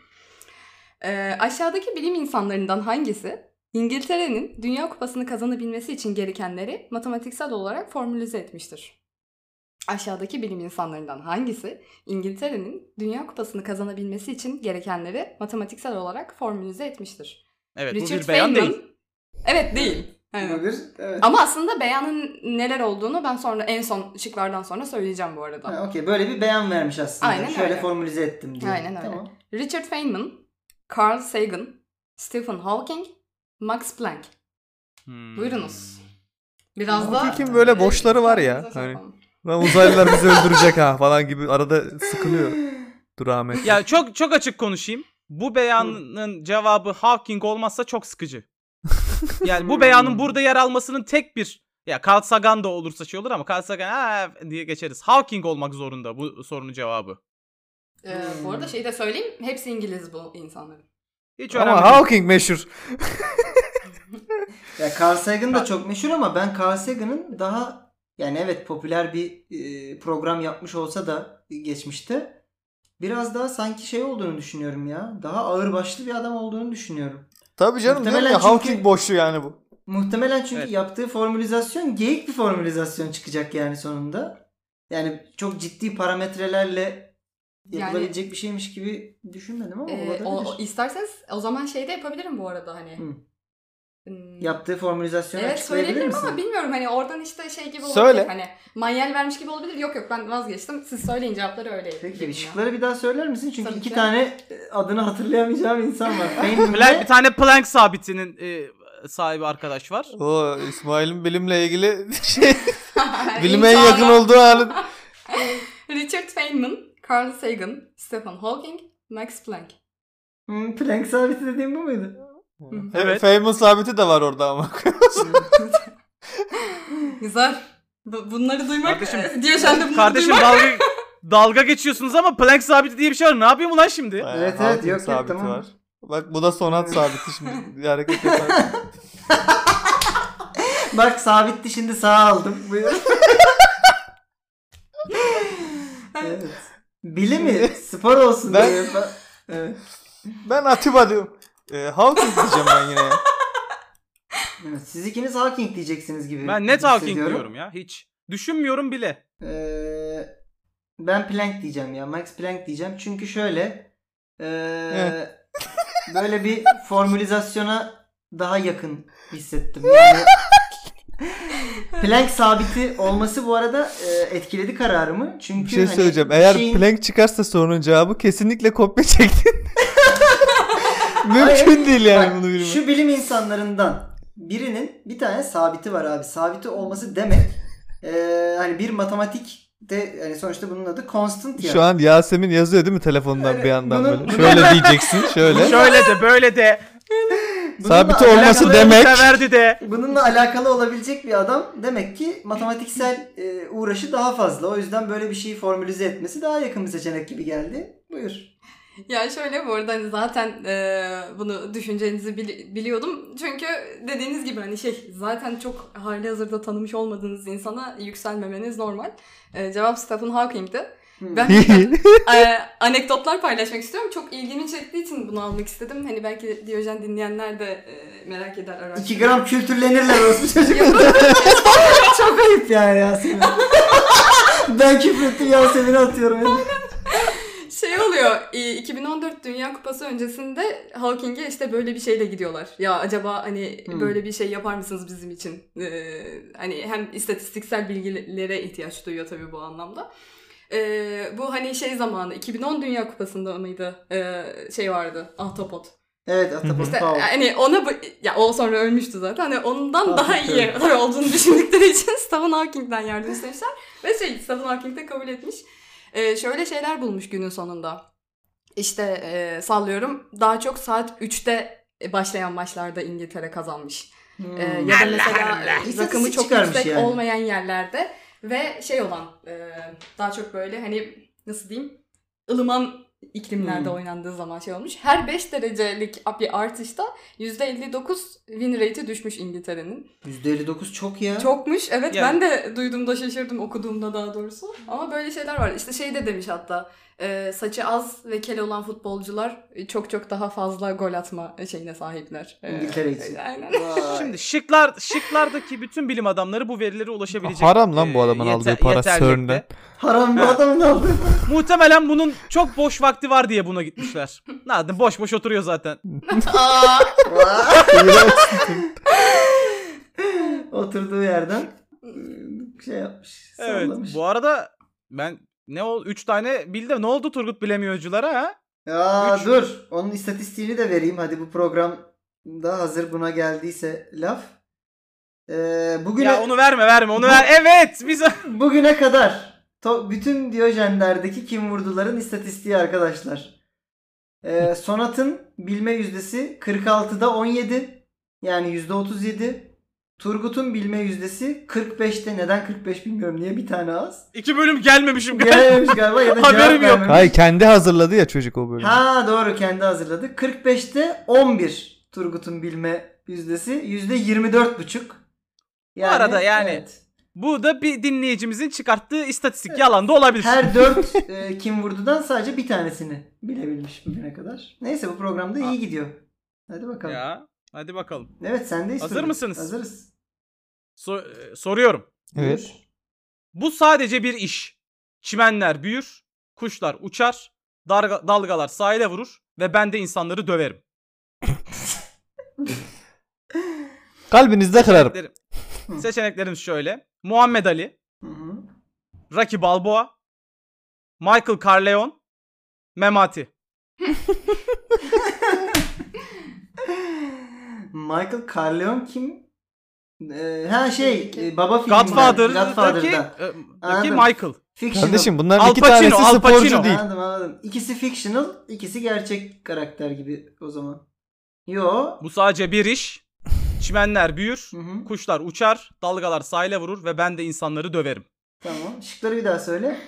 Ee, aşağıdaki bilim insanlarından hangisi İngiltere'nin Dünya Kupası'nı kazanabilmesi için gerekenleri matematiksel olarak formülize etmiştir? Aşağıdaki bilim insanlarından hangisi İngiltere'nin Dünya Kupası'nı kazanabilmesi için gerekenleri matematiksel olarak formülize etmiştir?
Evet bu
Richard
bir beyan
Feynman.
değil.
Evet değil. Aynen.
Buyur. Evet.
Ama aslında beyanın neler olduğunu ben sonra en son şıklardan sonra söyleyeceğim bu arada.
Ha, Okey böyle bir beyan vermiş aslında.
Aynen
Şöyle
öyle.
formülize ettim diye.
Aynen öyle.
Tamam.
Richard Feynman, Carl Sagan, Stephen Hawking, Max Planck.
Hmm.
Buyurunuz. Biraz da
Hawking'in böyle boşları var ya,
Bize şey
hani.
yapalım.
Lan uzaylılar bizi öldürecek ha falan gibi arada sıkılıyor. Dur Ahmet.
Ya çok çok açık konuşayım. Bu beyanın cevabı Hawking olmazsa çok sıkıcı. yani bu
Hmm.
beyanın burada yer almasının tek bir ya Carl Sagan da olursa şey olur ama Carl Sagan "Ha" diye geçeriz. Hawking olmak zorunda bu sorunun cevabı.
Ee, bu arada şeyi de söyleyeyim. Hepsi İngiliz bu insanların.
Hiç önemli
Ama
değil.
Hawking meşhur.
Ya Carl Sagan da çok meşhur ama ben Carl Sagan'ın daha yani evet popüler bir e, program yapmış olsa da geçmişte biraz daha sanki şey olduğunu düşünüyorum ya. Daha ağırbaşlı bir adam olduğunu düşünüyorum.
Tabii canım
Muhtemelen
diyorum ya,
çünkü-
Hawking boşu yani bu.
Muhtemelen çünkü
Evet.
yaptığı formülizasyon geyik bir formülizasyon çıkacak yani sonunda. Yani çok ciddi parametrelerle
Yani-
yapılabilecek bir şeymiş gibi düşünmedim ama
Ee,
olabilir.
o, o- isterseniz o zaman şey de yapabilirim bu arada hani.
Hı.
Hmm,
Yaptığı formülizasyonu
Evet
açıklayabilir
söyleyebilirim
misin?
ama bilmiyorum hani oradan işte şey gibi olabilir.
Söyle.
Hani manyel vermiş gibi olabilir. Yok yok ben vazgeçtim. Siz söyleyin cevapları öyle.
Peki
dedim
şıkları bir daha söyler misin? Çünkü
Tabii
iki
ki.
tane e, adını hatırlayamayacağım insan var. Benim
Plank,
de
bir tane Planck sabitinin e, sahibi arkadaş var.
O İsmail'in bilimle ilgili şey,
ya.
bilime en yakın
İnsanlar-
olduğu anı.
Richard Feynman, Carl Sagan, Stephen Hawking, Max Planck.
Hmm, Planck sabiti dediğim bu muydu?
Evet.
Feynman sabiti de var orada ama.
Güzel. Bu- Bunları duymak
Kardeşim-
diyor sen de bunları
Kardeşim
duymak.
dalga dalga geçiyorsunuz ama Planck sabiti diye bir şey var. Ne yapayım ulan şimdi?
Bayağı
evet,
Hawking
yok, yok,
sabiti
tamam.
var. Bak bu da sonat sabiti şimdi bir hareket yapar.
Bak sabitti şimdi sağ aldım. Buyur. evet. Bilimi spor olsun
Ben-
diye. Ben- Evet.
ben Atiba diyorum. Ee, Hawking diyeceğim ben yine. ya.
Evet, Siz ikiniz Hawking diyeceksiniz gibi.
Ben net Hawking
hissediyorum.
diyorum ya. Hiç. Düşünmüyorum bile.
Ee, ben Planck diyeceğim ya. Max Planck diyeceğim. Çünkü şöyle ee,
Evet.
böyle bir formülizasyona daha yakın hissettim. Yani Planck sabiti olması bu arada ee, etkiledi kararımı. Çünkü
Bir şey
hani
söyleyeceğim.
bir
Eğer
şeyin-
Planck çıkarsa sorunun cevabı kesinlikle kopya çektin.
Hayır.
Mümkün değil yani
Bak,
bunu bilmek.
Şu bilim insanlarından birinin bir tane sabiti var abi. Sabiti olması demek ee, hani bir matematik de yani sonuçta bunun adı constant ya.
Şu an Yasemin yazıyor değil mi telefondan
Öyle,
bir yandan
bunu-
böyle. Şöyle diyeceksin şöyle.
Şöyle de böyle de.
Bununla
sabiti
alakalı-
Olması
Planck'ı
demek-
Severdi de.
Bununla alakalı olabilecek bir adam demek ki matematiksel e, uğraşı daha fazla. O yüzden böyle bir şeyi formülize etmesi daha yakın bir seçenek gibi geldi. Buyur.
Ya şöyle bu arada hani zaten e, bunu düşüneceğinizi bili- biliyordum. Çünkü dediğiniz gibi hani şey zaten çok hali hazırda tanımış olmadığınız insana yükselmemeniz normal. E, cevap Stephen Hawking'di.
Hmm.
Ben bir takım, e, anekdotlar paylaşmak istiyorum. Çok ilgimi çektiği için bunu almak istedim. Hani belki Diyojen dinleyenler de e, merak eder. araştırır.
2 gram kültürlenirler orası çocuk. Çok ayıp yani Yasemin. ben küfür ettim Yasemin'e atıyorum.
Şey oluyor, e, 2014 Dünya Kupası öncesinde Hawking'e işte böyle bir şeyle gidiyorlar. Ya acaba hani
Hmm.
böyle bir şey yapar mısınız bizim için? Ee, hani hem istatistiksel bilgilere ihtiyaç duyuyor tabii bu anlamda. Ee, bu hani şey zamanı, 2010 Dünya Kupası'nda mıydı? Ee, şey vardı, Ahtapot.
Evet Atabey
İşte
Paul.
hani ona bu- ya o sonra ölmüştü zaten. Hani ondan
Tabii,
daha iyi
tabii.
yerler olduğunu düşündükleri için Stephen Hawking'den yardım istemişler. Ve şey Stephen Hawking de kabul etmiş. Ee, şöyle şeyler bulmuş günün sonunda. İşte e, sallıyorum daha çok saat 3'te başlayan maçlarda İngiltere kazanmış. Ee,
Hmm.
ya da mesela
İstatistik
rakımı çok
çıkarmış
yüksek
yani.
olmayan yerlerde ve şey olan e, daha çok böyle hani nasıl diyeyim ılıman iklimlerde
Hmm.
oynandığı zaman şey olmuş. Her 5 derecelik bir artışta %59 win rate'i düşmüş İngiltere'nin.
%59 çok ya.
Çokmuş. Evet
Yani-
ben de duyduğumda şaşırdım okuduğumda daha doğrusu. Ama böyle şeyler var. İşte şey de demiş hatta e, saçı az ve kel olan futbolcular çok çok daha fazla gol atma şeyine sahipler. E,
İngiltere için.
Aynen.
Vay.
Şimdi şıklar şıklardaki bütün bilim adamları bu verilere ulaşabilecek.
Haram lan bu
e,
adamın
yete-
aldığı para
yeterlikte.
CERN'den.
Haram bu
Ha.
adamın aldı.
Muhtemelen bunun çok boş vakti var diye buna gitmişler. Ne yaptın? boş boş oturuyor zaten.
Aa!
Oturduğu yerden şey yapmış.
Evet.
Sallamış.
Bu arada ben ne ol 3 tane bildi. Ne oldu Turgut bilemiyorculara ha?
Ya
Üç.
dur. Onun istatistiğini de vereyim. Hadi bu programda hazır buna geldiyse laf. Ee, bugüne,
Ya onu verme verme onu ver. Evet biz
bugüne kadar to- bütün Diyojenler'deki kim vurduların istatistiği arkadaşlar. Ee, sonat'ın bilme yüzdesi 46'da 17. Yani yüzde %37. Turgut'un bilme yüzdesi 45'te. Neden 45 bilmiyorum. Niye bir tane az?
iki bölüm gelmemişim galiba.
Gelememiş galiba ya da cevap
Haberim yok.
vermemiş.
Hayır kendi hazırladı ya çocuk o bölümü.
Ha doğru kendi hazırladı. 45'te 11 Turgut'un bilme yüzdesi. Yüzde 24 buçuk.
arada yani-
evet.
Bu da bir dinleyicimizin çıkarttığı istatistik. Yalan da olabilir.
her 4 kim vurdudan sadece bir tanesini bilebilmiş bugüne kadar. Neyse bu programda iyi gidiyor. Hadi bakalım.
Ah. Ya hadi bakalım.
Evet sendeyiz.
Hazır
Turgut.
mısınız?
Hazırız.
So- e, soruyorum.
Evet.
Buyur.
Bu sadece bir iş. Çimenler büyür, kuşlar uçar, darga- dalgalar sahile vurur ve ben de insanları döverim.
Kalbinizde kırarım.
Seçeneklerim. Seçeneklerimiz şöyle. Muhammed Ali,
Hı-hı.
Rocky Balboa, Michael Carleon, Memati.
Michael Carleon kim? Ee, ha şey e, baba filmi.
Godfather'daki
Godfather'dan.
e, daki
Anladım.
Michael.
Fictional.
Kardeşim bunların
Al
iki
Pacino,
tanesi
Al
sporcu
Pacino.
değil.
Anladım anladım. İkisi fictional, ikisi gerçek karakter gibi o zaman. Yo.
Bu sadece bir iş. Çimenler büyür,
Hı hı,
kuşlar uçar, dalgalar sahile vurur ve ben de insanları döverim.
tamam. Şıkları bir daha söyle.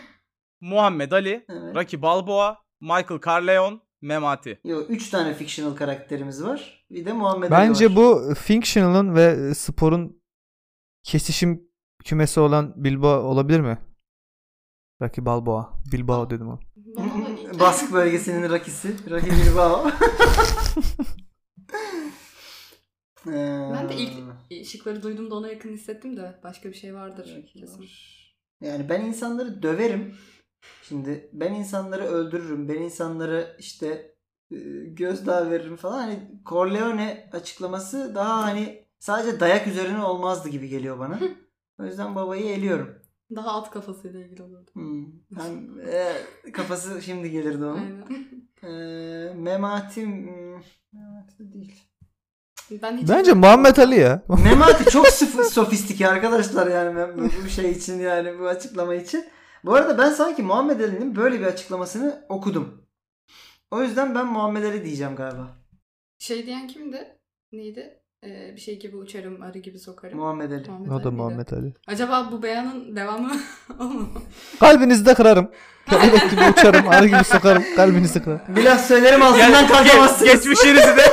Muhammed Ali,
Evet.
Rocky Balboa, Michael Carleon, Memati.
Yo, üç tane fictional karakterimiz var. Bir de Muhammed Ali var.
Bence bu fictional'ın ve e, sporun kesişim kümesi olan Bilbao olabilir mi? Rocky Balboa. Bilbao dedim o.
Bana da ilk-
Bask bölgesinin rakisi. Rocky Bilbao.
Ben de
Hmm.
ilk şıkları duyduğumda ona yakın hissettim de başka bir şey vardır. kesin.
Yani ben insanları döverim. Şimdi ben insanları öldürürüm. Ben insanlara işte e, gözdağı veririm falan. Hani Corleone açıklaması daha hani sadece dayak üzerine olmazdı gibi geliyor bana. O yüzden babayı eliyorum.
Daha alt kafasıyla ilgili olurdu.
Hmm. Hem, e, kafası şimdi gelirdi onun.
Aynen.
E, Memati hmm, Memati de değil.
Ben hiç
Bence Muhammed Ali ya.
Memati çok sıfı- sofistike arkadaşlar yani ben bu bu şey için yani bu açıklama için. Bu arada ben sanki Muhammed Ali'nin böyle bir açıklamasını okudum. O yüzden ben Muhammed Ali diyeceğim galiba.
Şey diyen kimdi? Neydi? Ee, bir şey gibi uçarım, arı gibi sokarım.
Muhammed Ali.
Muhammed
o
Ali
da
miydi?
Muhammed Ali.
Acaba bu beyanın devamı olmamalı.
Kalbinizde kırarım. Kelebek gibi uçarım, arı gibi sokarım. Kalbinizi kırarım.
Biraz söylerim ağzından kalkamazsınız.
Geçmişinizi de.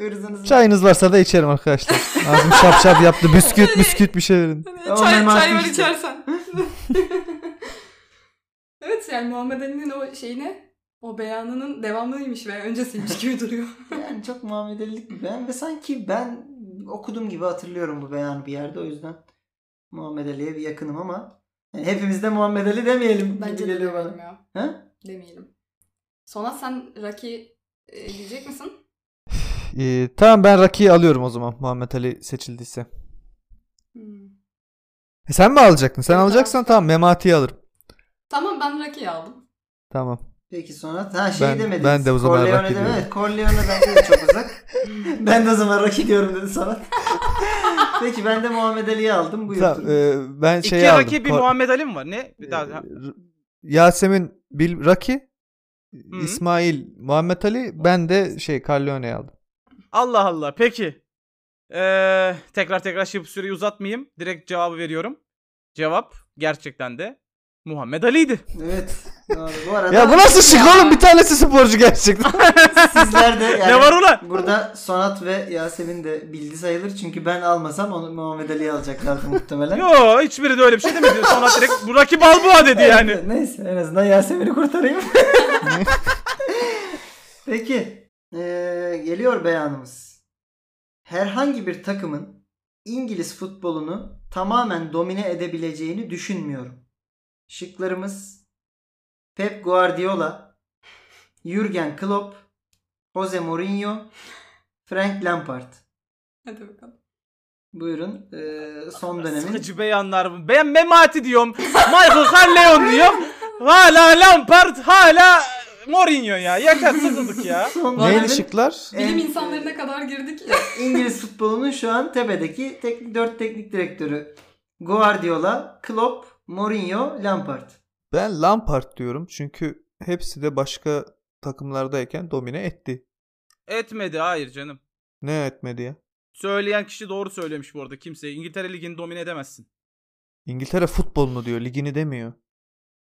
Hırzınızı-
Çayınız varsa da içerim arkadaşlar. Ağzım şap şap yaptı. Bisküvit bisküvit bir şey verin.
Ama
çay,
memati
çay var
işte.
içersen. evet yani Muhammed Ali'nin o şeyine o beyanının devamlıymış ve öncesiymiş gibi duruyor.
Yani çok Muhammed Ali'lik bir beyan ve sanki ben okudum gibi hatırlıyorum bu beyanı bir yerde o yüzden Muhammed Ali'ye bir yakınım ama yani hepimiz de Muhammed Ali demeyelim
Bence
gibi
de
geliyor bana.
demeyelim ya.
Ha?
Demeyelim. Sonra sen Rocky e, diyecek misin?
Ee, tamam ben Rocky'yi alıyorum o zaman Muhammed Ali seçildiyse.
Hmm.
E sen mi alacaktın? Sen
Evet,
alacaksan tamam Memati'yi alırım.
Tamam ben Rocky'yi aldım.
Tamam.
Peki sonra ha şey
Ben-
demediniz.
ben de o zaman
Corleone
Rocky
deme-
diyorum.
Evet Corleone bence de çok uzak. ben de o zaman Rocky diyorum dedi sana. Peki ben de Muhammed Ali'yi aldım. Buyur.
Tamam, e, ben
İki
şey aldım.
rakibi
Ko-
Muhammed Ali mi var? Ne? Bir daha.
e, R- Yasemin Bil Raki,
Hı.
İsmail Muhammed Ali, ben de şey Carleone'yi aldım.
Allah Allah. Peki. Ee, tekrar tekrar şey yapıp süreyi uzatmayayım. Direkt cevabı veriyorum. Cevap gerçekten de Muhammed Ali'ydi.
Evet. Doğru. Bu arada
Ya bu nasıl şık
Ya.
oğlum? Bir tanesi sporcu gerçekten.
sizler de yani
ne var ulan?
burada Sonat ve Yasemin de bildi sayılır. Çünkü ben almasam onu Muhammed Ali'yi alacaklardı muhtemelen.
Yo hiçbiri de öyle bir şey demedi. Sonra direkt bu Rocky Balboa dedi yani.
Evet, Neyse en azından Yasemin'i kurtarayım. Peki. eee, geliyor beyanımız. Herhangi bir takımın İngiliz futbolunu tamamen domine edebileceğini düşünmüyorum. Şıklarımız Pep Guardiola, Jurgen Klopp, Jose Mourinho, Frank Lampard.
Hadi bakalım.
Buyurun eee, son dönemin.
Sıkıcı beyanlar bu. Ben Memati diyorum. Michael Carleon diyorum. Hala Lampard hala Mourinho ya. Yakar sıkıldık ya.
Son dönemin
Neydi şıklar?
Bilim
en-
insanlarına kadar girdik ya.
İngiliz futbolunun şu an tepedeki tek, 4 teknik direktörü. Guardiola, Klopp, Mourinho, Lampard.
Ben Lampard diyorum çünkü hepsi de başka takımlardayken domine etti.
Etmedi hayır canım.
Ne etmedi ya?
Söyleyen kişi doğru söylemiş bu arada kimse. İngiltere Ligi'ni domine edemezsin.
İngiltere futbolunu diyor, ligini demiyor.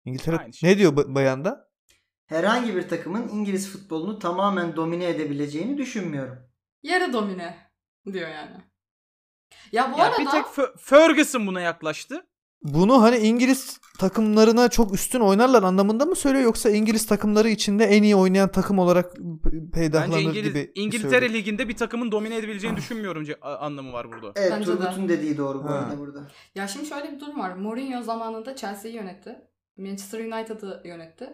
İngiltere
Aynı şey.
ne diyor ba- bayanda?
Herhangi bir takımın İngiliz futbolunu tamamen domine edebileceğini düşünmüyorum.
Yarı domine diyor yani. Ya bu
Ya
arada
bir tek Fe- Ferguson buna yaklaştı.
Bunu hani İngiliz takımlarına çok üstün oynarlar anlamında mı söylüyor yoksa İngiliz takımları içinde en iyi oynayan takım olarak p- peydahlanır
Bence İngiliz,
gibi şey
İngiltere
söylüyor.
Ligi'nde bir takımın domine edebileceğini düşünmüyorum ce- a- anlamı var burada.
Evet
Bence de.
Turgut'un dediği doğru bu
Ha.
arada burada.
ya şimdi şöyle bir durum var. Mourinho zamanında Chelsea'yi yönetti. Manchester United'ı yönetti.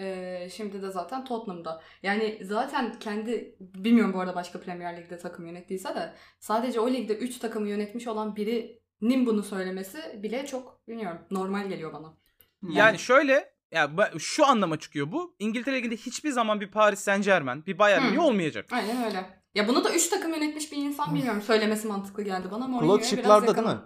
Ee, şimdi de zaten Tottenham'da. Yani zaten kendi bilmiyorum bu arada başka Premier Lig'de takım yönettiyse de sadece o ligde 3 takımı yönetmiş olan birinin bunu söylemesi bile çok bilmiyorum normal geliyor bana.
Yani şöyle ya ba- şu anlama çıkıyor bu. İngiltere liginde hiçbir zaman bir Paris Saint-Germain, bir Bayern
Hmm.
Münih olmayacak.
Aynen öyle. Ya bunu da 3 takım yönetmiş bir insan bilmiyorum söylemesi mantıklı geldi bana. Mourinho'ya
Klopp
biraz
şıklarda değil
yakınım.
mi?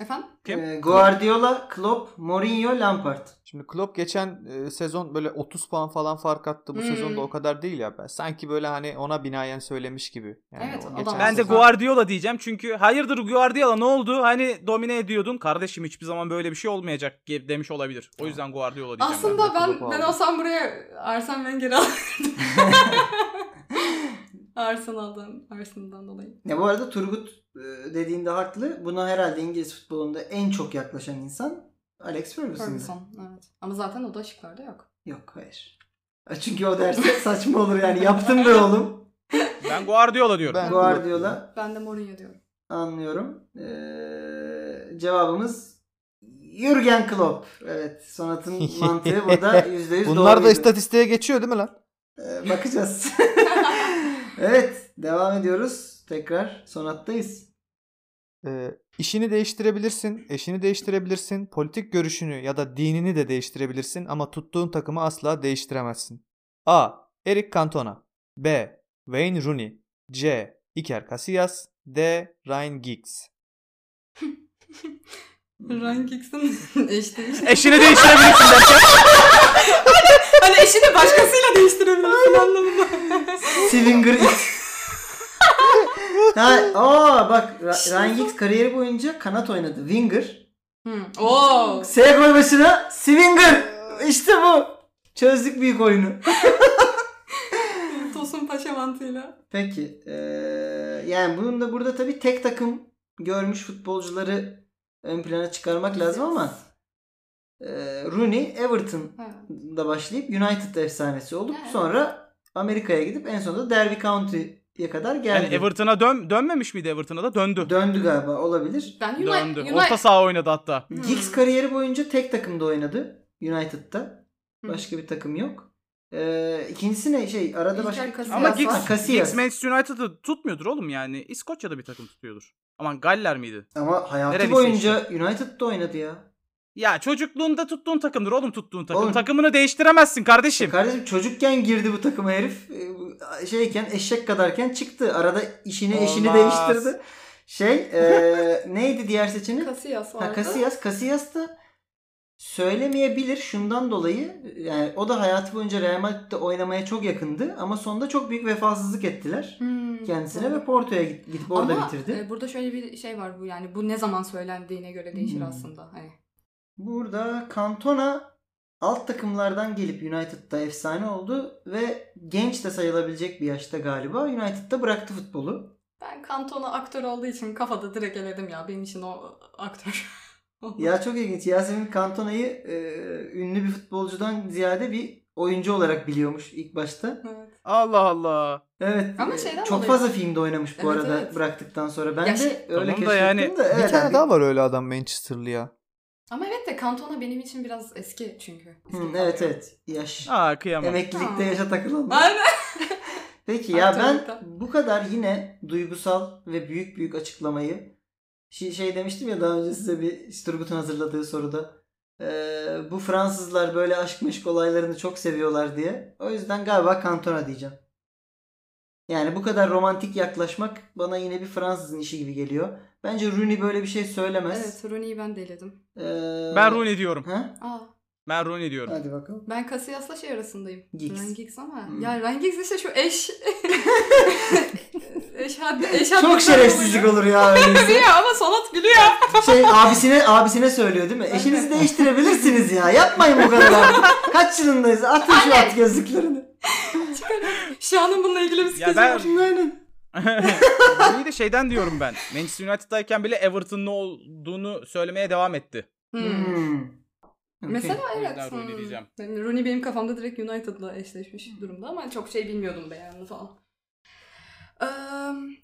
Efendim?
Kim?
Ee, Guardiola, Klopp, Mourinho, Lampard.
Şimdi Klopp geçen e, sezon böyle 30 puan falan fark attı. Bu
Hmm.
sezon da o kadar değil ya. Ben sanki böyle hani ona binaen söylemiş gibi. Yani
Evet,
o
adam-
geçen
Ben de
sezon-
Guardiola diyeceğim çünkü hayırdır Guardiola ne oldu? Hani domine ediyordun. Kardeşim hiçbir zaman böyle bir şey olmayacak ge- demiş olabilir. O yüzden Guardiola diyeceğim ben.
Aslında
ben de
ben
Klopp'u
ben,
aldım.
olsam buraya Arsene Wenger'i alırdım. Arsenal'dan, Arsenal'dan dolayı.
Ya bu arada Turgut e, dediğinde haklı. Buna herhalde İngiliz futbolunda en çok yaklaşan insan Alex Ferguson.
Ferguson, evet. Ama zaten o da şıklarda yok.
Yok hayır. E, Çünkü o derse saçma olur yani. Yaptım be oğlum.
Ben Guardiola diyorum.
Ben-
Guardiola
Ben de Mourinho diyorum.
anlıyorum. Ee, cevabımız Jürgen Klopp. Evet sonatın mantığı burada %100
Bunlar da
doğruydu.
istatistiğe geçiyor değil mi lan?
Ee, bakacağız. evet devam ediyoruz. Tekrar sonattayız.
Ee, işini değiştirebilirsin, eşini değiştirebilirsin, politik görüşünü ya da dinini de değiştirebilirsin ama tuttuğun takımı asla değiştiremezsin. A. Eric Cantona B. Wayne Rooney C. Iker Casillas D. Ryan Giggs
Ryan Giggs'in eşi değil.
Eşini değiştirebilirsin derken.
Hani eşini başkasıyla değiştirebilirsin anlamında.
Swinger X. ha, aa bak Ra- Ryan Giggs kariyeri boyunca kanat oynadı. Winger.
Hı. Oo.
S koy başına Swinger. İşte bu. Çözdük büyük oyunu.
Tosun Paşa mantığıyla.
Peki. eee, yani bunun da burada tabii tek takım görmüş futbolcuları ön plana çıkarmak lazım ama eee Rooney Everton
Evet.
da başlayıp United efsanesi olup
Evet.
sonra Amerika'ya gidip en sonunda Derby County'ye kadar geldi.
Yani Hani Everton'a dön dönmemiş miydi Everton'a da döndü.
Döndü galiba olabilir.
Ben United,
Döndü.
United-
Orta saha oynadı hatta.
Hmm.
Giggs kariyeri boyunca tek takımda oynadı United'da.
Hı.
Başka bir takım yok. Eee ikincisi ne şey arada
İlker
başka
Casillas
Ama
Siyasi-
Giggs,
Casillas.
Giggs Manchester United'ı tutmuyordur oğlum yani. İskoçya'da bir takım tutuyordur. Aman Galler miydi?
Ama hayatı
Nereliyse
boyunca United'da oynadı ya.
Ya çocukluğunda tuttuğun takımdır oğlum tuttuğun takım.
Oğlum-
Takımını değiştiremezsin kardeşim.
Kardeşim çocukken girdi bu takıma herif. Ee, Şeyken eşek kadarken çıktı. Arada işini eşini
Olmaz.
değiştirdi. Şey e, neydi diğer seçenek?
Casillas vardı.
Ha, Casillas. Casillas da söylemeyebilir şundan dolayı. Yani o da hayatı boyunca Real Madrid'de oynamaya çok yakındı. Ama sonunda çok büyük vefasızlık ettiler.
Hmm,
Kendisine
doğru.
ve Porto'ya git- gidip orada
Ama,
bitirdi.
e, burada şöyle bir şey var bu yani bu ne zaman söylendiğine göre değişir
Hmm.
aslında. Hani.
Burada Cantona alt takımlardan gelip United'da efsane oldu ve genç de sayılabilecek bir yaşta galiba United'da bıraktı futbolu.
Ben Cantona aktör olduğu için kafada direkt eledim ya. Benim için o aktör.
Ya çok ilginç. Yasemin Cantona'yı e, ünlü bir futbolcudan ziyade bir oyuncu olarak biliyormuş ilk başta.
Evet.
Allah Allah.
Evet.
Ama
e,
şeyden
çok
dolayı-
fazla filmde oynamış bu
Evet,
arada
evet.
bıraktıktan sonra. Ben
Ya
de
şey-
öyle
Tamam da
keşfettim
yani-
de.
Bir
evet,
tane
yani-
daha var öyle adam Manchester'lı ya.
Ama evet de Cantona benim için biraz eski çünkü. Eski
Hı,
kalıyor.
evet evet. Yaş.
Aa kıyamam.
Emeklilikte
Aa.
yaşa takılan.
Aynen.
Peki ya ben
Aktörlükten.
bu kadar yine duygusal ve büyük büyük açıklamayı şey, şey demiştim ya daha önce size bir Turgut'un hazırladığı soruda Ee, bu Fransızlar böyle aşk meşk olaylarını çok seviyorlar diye. O yüzden galiba Cantona diyeceğim. Yani bu kadar romantik yaklaşmak bana yine bir Fransızın işi gibi geliyor. Bence Rooney böyle bir şey söylemez.
Evet Rooney'i ben de eledim.
Ee,
Ben Rooney diyorum.
Ha?
Aa,
Ben Rooney diyorum.
Hadi bakalım.
ben Casillas'la şey arasındayım.
Giggs.
Ryan Giggs ama.
Hmm.
Ya Ryan Giggs işte şu eş... eş, had, eş haddeden
Çok şerefsizlik
oluyor.
olur ya öyleyse.
Biliyor ama Sonat gülüyor.
şey abisine abisine söylüyor değil mi? Eşinizi değiştirebilirsiniz ya. Yapmayın bu kadar artık. Kaç yılındayız? Atın şu at gözlüklerini.
Şahan'ın bununla ilgili bir
Ya
skeci
ben
var.
Aynen.
Rooney'i de şeyden diyorum ben. Manchester United'dayken bile Everton'un olduğunu söylemeye devam etti.
Hmm.
Hmm. Okey.
Mesela
O yüzden
evet.
Rooney
hmm.
diyeceğim.
Yani Rooney benim kafamda direkt United'la eşleşmiş durumda ama çok şey bilmiyordum beyanını falan. Ee,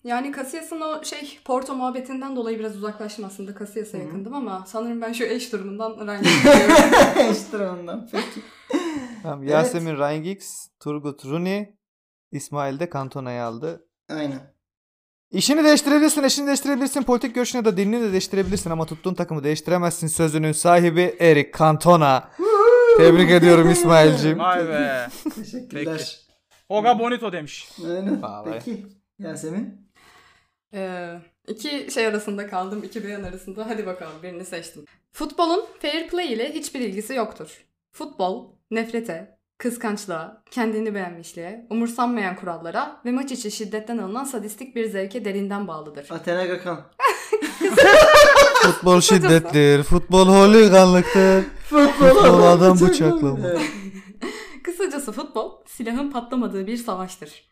yani Casillas'ın o şey Porto muhabbetinden dolayı biraz uzaklaştım aslında. Casillas'a
Hı.
yakındım ama sanırım ben şu eş durumundan Ryan Giggs'i diyorum.
işte ondan. Peki.
Tamam,
Evet.
Yasemin Ryan Giggs, Turgut Runi, İsmail de Kantona'yı aldı.
Aynen.
İşini değiştirebilirsin, eşini değiştirebilirsin, politik görüşünü ya da dinini de değiştirebilirsin ama tuttuğun takımı değiştiremezsin sözünün sahibi Erik Cantona. Tebrik ediyorum İsmail'cim.
Vay be.
Teşekkürler.
Hoga Bonito demiş.
Aynen.
Vallahi.
Peki. Yasemin.
Ee, iki şey arasında kaldım, iki beyan arasında. Hadi bakalım birini seçtim. Futbolun fair play ile hiçbir ilgisi yoktur. Futbol, nefrete, kıskançlığa, kendini beğenmişliğe, umursanmayan kurallara ve maç içi şiddetten alınan sadistik bir zevke derinden bağlıdır.
Athena Gökhan.
Futbol şiddettir, futbol holiganlıktır. Futbol adam bıçaklama.
Evet.
Kısacası futbol, silahın patlamadığı bir savaştır.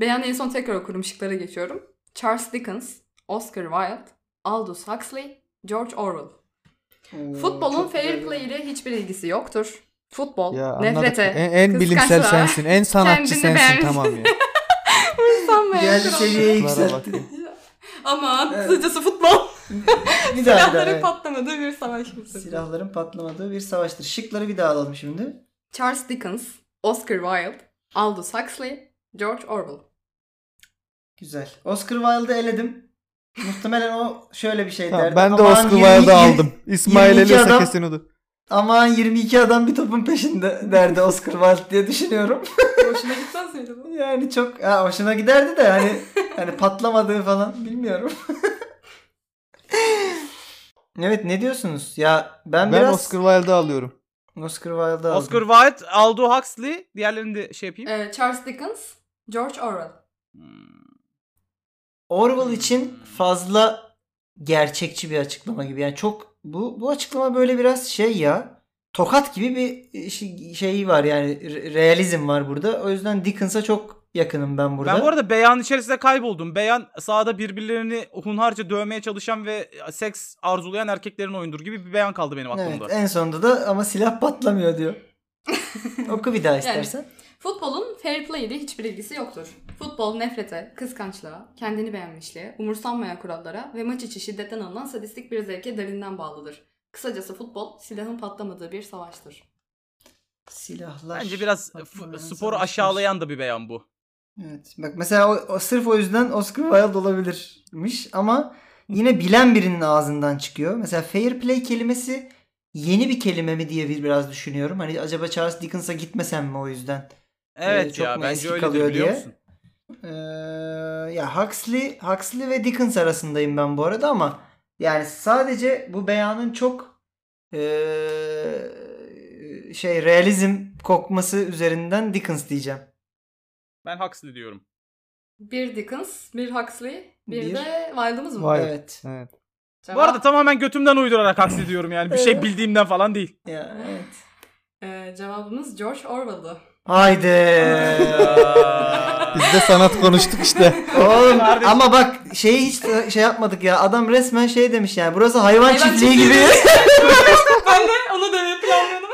Beyanı en son tekrar okurum, şıklara geçiyorum. Charles Dickens, Oscar Wilde, Aldous Huxley, George Orwell.
Oo,
Futbolun
çok
fair
güzel.
play ile hiçbir ilgisi yoktur. Futbol,
Ya anladık.
nefrete,
en, en bilimsel
kıskançlığa,
sensin, en sanatçı
kendini
sensin
beğenmiş.
tamam ya.
umursanmayan
Geldi
kurallara.
seviyeye
Şıklara
yükseltti.
Aman
Evet.
kısacası futbol.
Bir daha bir daha.
Silahların
evet.
patlamadığı bir savaş mısır.
Silahların patlamadığı bir savaştır. Şıkları bir daha alalım şimdi.
Charles Dickens, Oscar Wilde, Aldous Huxley, George Orwell.
Güzel. Oscar Wilde'ı eledim. Muhtemelen o şöyle bir şey
Tamam,
derdi.
ben de
Aman
Oscar
22
Wilde'ı aldım. İsmail
22
Elisa
adam-
kesin odur.
Aman 22 adam bir topun peşinde derdi Oscar Wilde diye düşünüyorum.
Hoşuna gitmez miydi bu?
Yani çok ha, hoşuna giderdi de hani hani patlamadığı falan bilmiyorum. evet ne diyorsunuz? Ya ben,
Ben,
biraz Oscar,
Oscar Wilde'ı alıyorum.
Oscar Wilde'ı aldım.
Oscar Wilde, Aldo Huxley. Diğerlerini de şey yapayım. Hmm.
Ee, Charles Dickens, George Orwell.
Orwell için fazla gerçekçi bir açıklama gibi. Yani çok bu bu açıklama böyle biraz şey ya. Tokat gibi bir şey- şeyi var yani re- realizm var burada. O yüzden Dickens'a çok yakınım ben burada.
Ben bu arada beyan içerisinde kayboldum. Beyan sahada birbirlerini hunharca dövmeye çalışan ve e, seks arzulayan erkeklerin oyundur gibi bir beyan kaldı benim
evet,
aklımda.
en sonunda da ama silah patlamıyor diyor. Oku bir daha istersen.
Futbolun fair play ile hiçbir ilgisi yoktur. Futbol nefrete, kıskançlığa, kendini beğenmişliğe, umursanmayan kurallara ve maç içi şiddetten alınan sadistik bir zevke derinden bağlıdır. Kısacası futbol silahın patlamadığı bir savaştır.
Silahlar.
Bence biraz e,
patlamayan
f- sporu
savaşlar.
aşağılayan da bir beyan bu.
Evet. Bak mesela o, o sırf o yüzden Oscar Wilde olabilirmiş ama yine bilen birinin ağzından çıkıyor. Mesela fair play kelimesi yeni bir kelime mi diye bir biraz düşünüyorum. Hani acaba Charles Dickens'a gitmesem mi o yüzden?
Evet
çok mu
ya bence
eski
öyle
kalıyor
biliyor
diye.
musun?
Ee, ya Huxley, Huxley ve Dickens arasındayım ben bu arada ama yani sadece bu beyanın çok ee, şey realizm kokması üzerinden Dickens diyeceğim.
Ben Huxley diyorum.
Bir Dickens, bir Huxley, bir,
Bir-
de Wilde'ımız mı?
Vay. Hayır.
Evet.
Evet.
Bu arada tamamen götümden uydurarak Huxley diyorum yani. Bir şey bildiğimden falan değil.
Ya, evet.
Ee, cevabımız George Orwell'dı.
Haydi.
Biz de sanat konuştuk işte.
Oğlum
Kardeşim.
ama bak şeyi hiç şey yapmadık ya. Adam resmen şey demiş yani. Burası hayvan,
Hayvan
çiftliği
çiftliği.
gibi.
ben de onu demeye planlıyordum.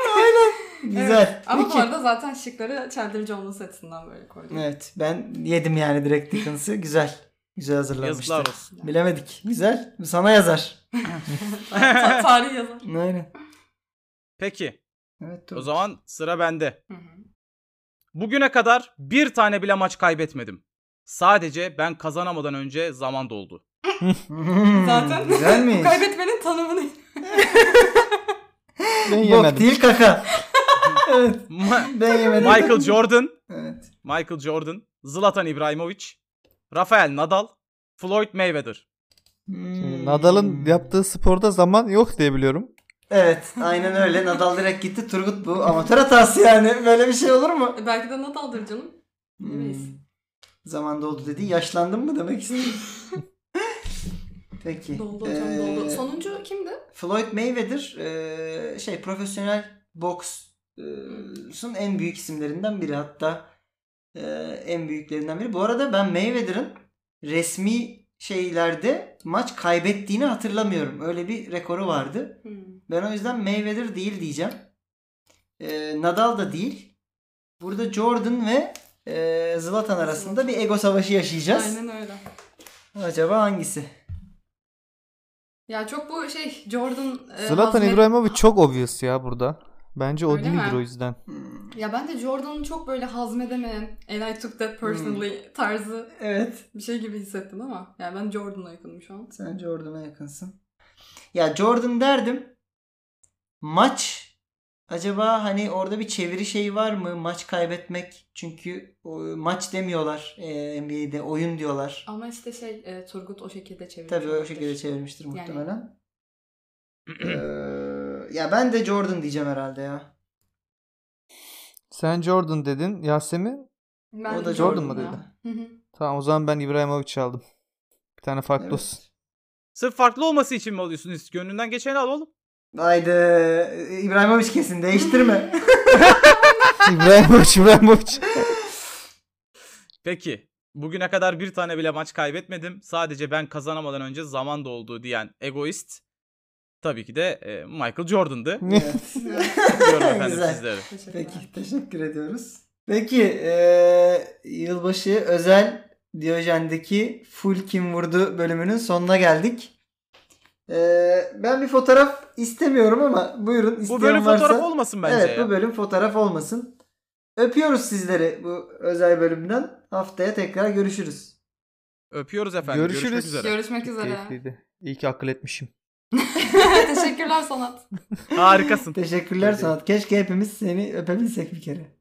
Güzel.
Ama
Peki.
bu arada zaten şıkları çeldirici olması açısından böyle koydum.
Evet ben yedim yani direkt Dickens'ı. Güzel. Güzel hazırlanmıştı.
Yazıklar olsun.
Bilemedik. Güzel. Sana yazar.
Ta- tarih yazar.
Aynen.
Peki
Evet, dur.
o zaman sıra bende.
Hı hı.
Bugüne kadar bir tane bile maç kaybetmedim. Sadece ben kazanamadan önce zaman doldu.
Hmm,
Zaten
Güzel mi?
kaybetmenin tanımını
Ben
Bok
yemedim.
değil kaka. evet.
Ma-
Ben yemedim.
Michael Jordan,
Evet.
Michael Jordan, Zlatan Ibrahimovic, Rafael Nadal, Floyd Mayweather.
Hmm.
Nadal'ın yaptığı sporda zaman yok diye biliyorum.
Evet aynen öyle. Nadal direkt gitti. Turgut bu amatör hatası yani. Böyle bir şey olur mu?
E, Belki de Nadal'dır canım. Bilemeyiz.
Hmm. Zaman doldu dedi. Yaşlandın mı demek istedim. Peki.
Doldu hocam
Ee,
doldu. Sonuncu kimdi?
Floyd Mayweather ee, şey profesyonel boksun en büyük isimlerinden biri hatta ee, en büyüklerinden biri. Bu arada ben Mayweather'ın resmi şeylerde maç kaybettiğini hatırlamıyorum. Öyle bir rekoru vardı.
Hmm.
Ben o yüzden Mayweather değil diyeceğim. Ee, Nadal da değil. Burada Jordan ve e, Zlatan arasında bir ego savaşı yaşayacağız.
Aynen öyle.
Acaba hangisi?
Ya çok bu şey Jordan e,
Zlatan
Ee, hazmet-
İbrahimovic çok obvious ya burada. Bence o
Öyle
değildir
mi?
o yüzden.
Ya ben de Jordan'ın çok böyle hazmedemeyen and I took that
Hmm.
personally tarzı
Evet.
bir şey gibi hissettim ama. Yani ben Jordan'a yakınım şu an.
Sen Jordan'a yakınsın. Ya Jordan derdim. Maç acaba hani orada bir çeviri şeyi var mı? Maç kaybetmek. Çünkü o, maç demiyorlar e, NBA'de. Oyun diyorlar.
Ama işte şey e, Turgut o şekilde çevirmiş.
Tabii o
olabilir.
şekilde çevirmiştir
Yani-
muhtemelen. Ee, ya ben de Jordan diyeceğim herhalde ya.
Sen Jordan dedin. Yasemin?
Ben
o
Jordan
da Jordan
mı
ya.
dedi?
Hı hı.
Tamam o zaman ben İbrahimovic aldım. Bir tane farklı
Evet.
olsun.
Sırf farklı olması için mi alıyorsunuz? Gönlünden geçeni al oğlum.
Haydi İbrahimovic kesin değiştirme.
İbrahimovic, İbrahimovic.
Peki. Bugüne kadar bir tane bile maç kaybetmedim. Sadece ben kazanamadan önce zaman doldu diyen egoist tabii ki de e, Michael Jordan'dı.
Evet.
Diyorum efendim
Güzel.
sizlere.
Teşekkürler.
Peki teşekkür ediyoruz. Peki eee, yılbaşı özel Diyojen'deki full kim vurdu bölümünün sonuna geldik. Eee, ben bir fotoğraf istemiyorum ama buyurun isteyen
Bu bölüm
varsa.
fotoğraf olmasın bence
evet
ya.
bu bölüm fotoğraf olmasın. Öpüyoruz sizleri bu özel bölümden. Haftaya tekrar görüşürüz.
Öpüyoruz efendim. Görüşürüz. Görüşmek
Görüşürüz.
üzere.
Görüşmek üzere.
Keyifliydi. İyi ki akıl etmişim.
Teşekkürler Sanat.
Harikasın.
Teşekkürler Sanat. Keşke hepimiz seni öpebilsek bir kere.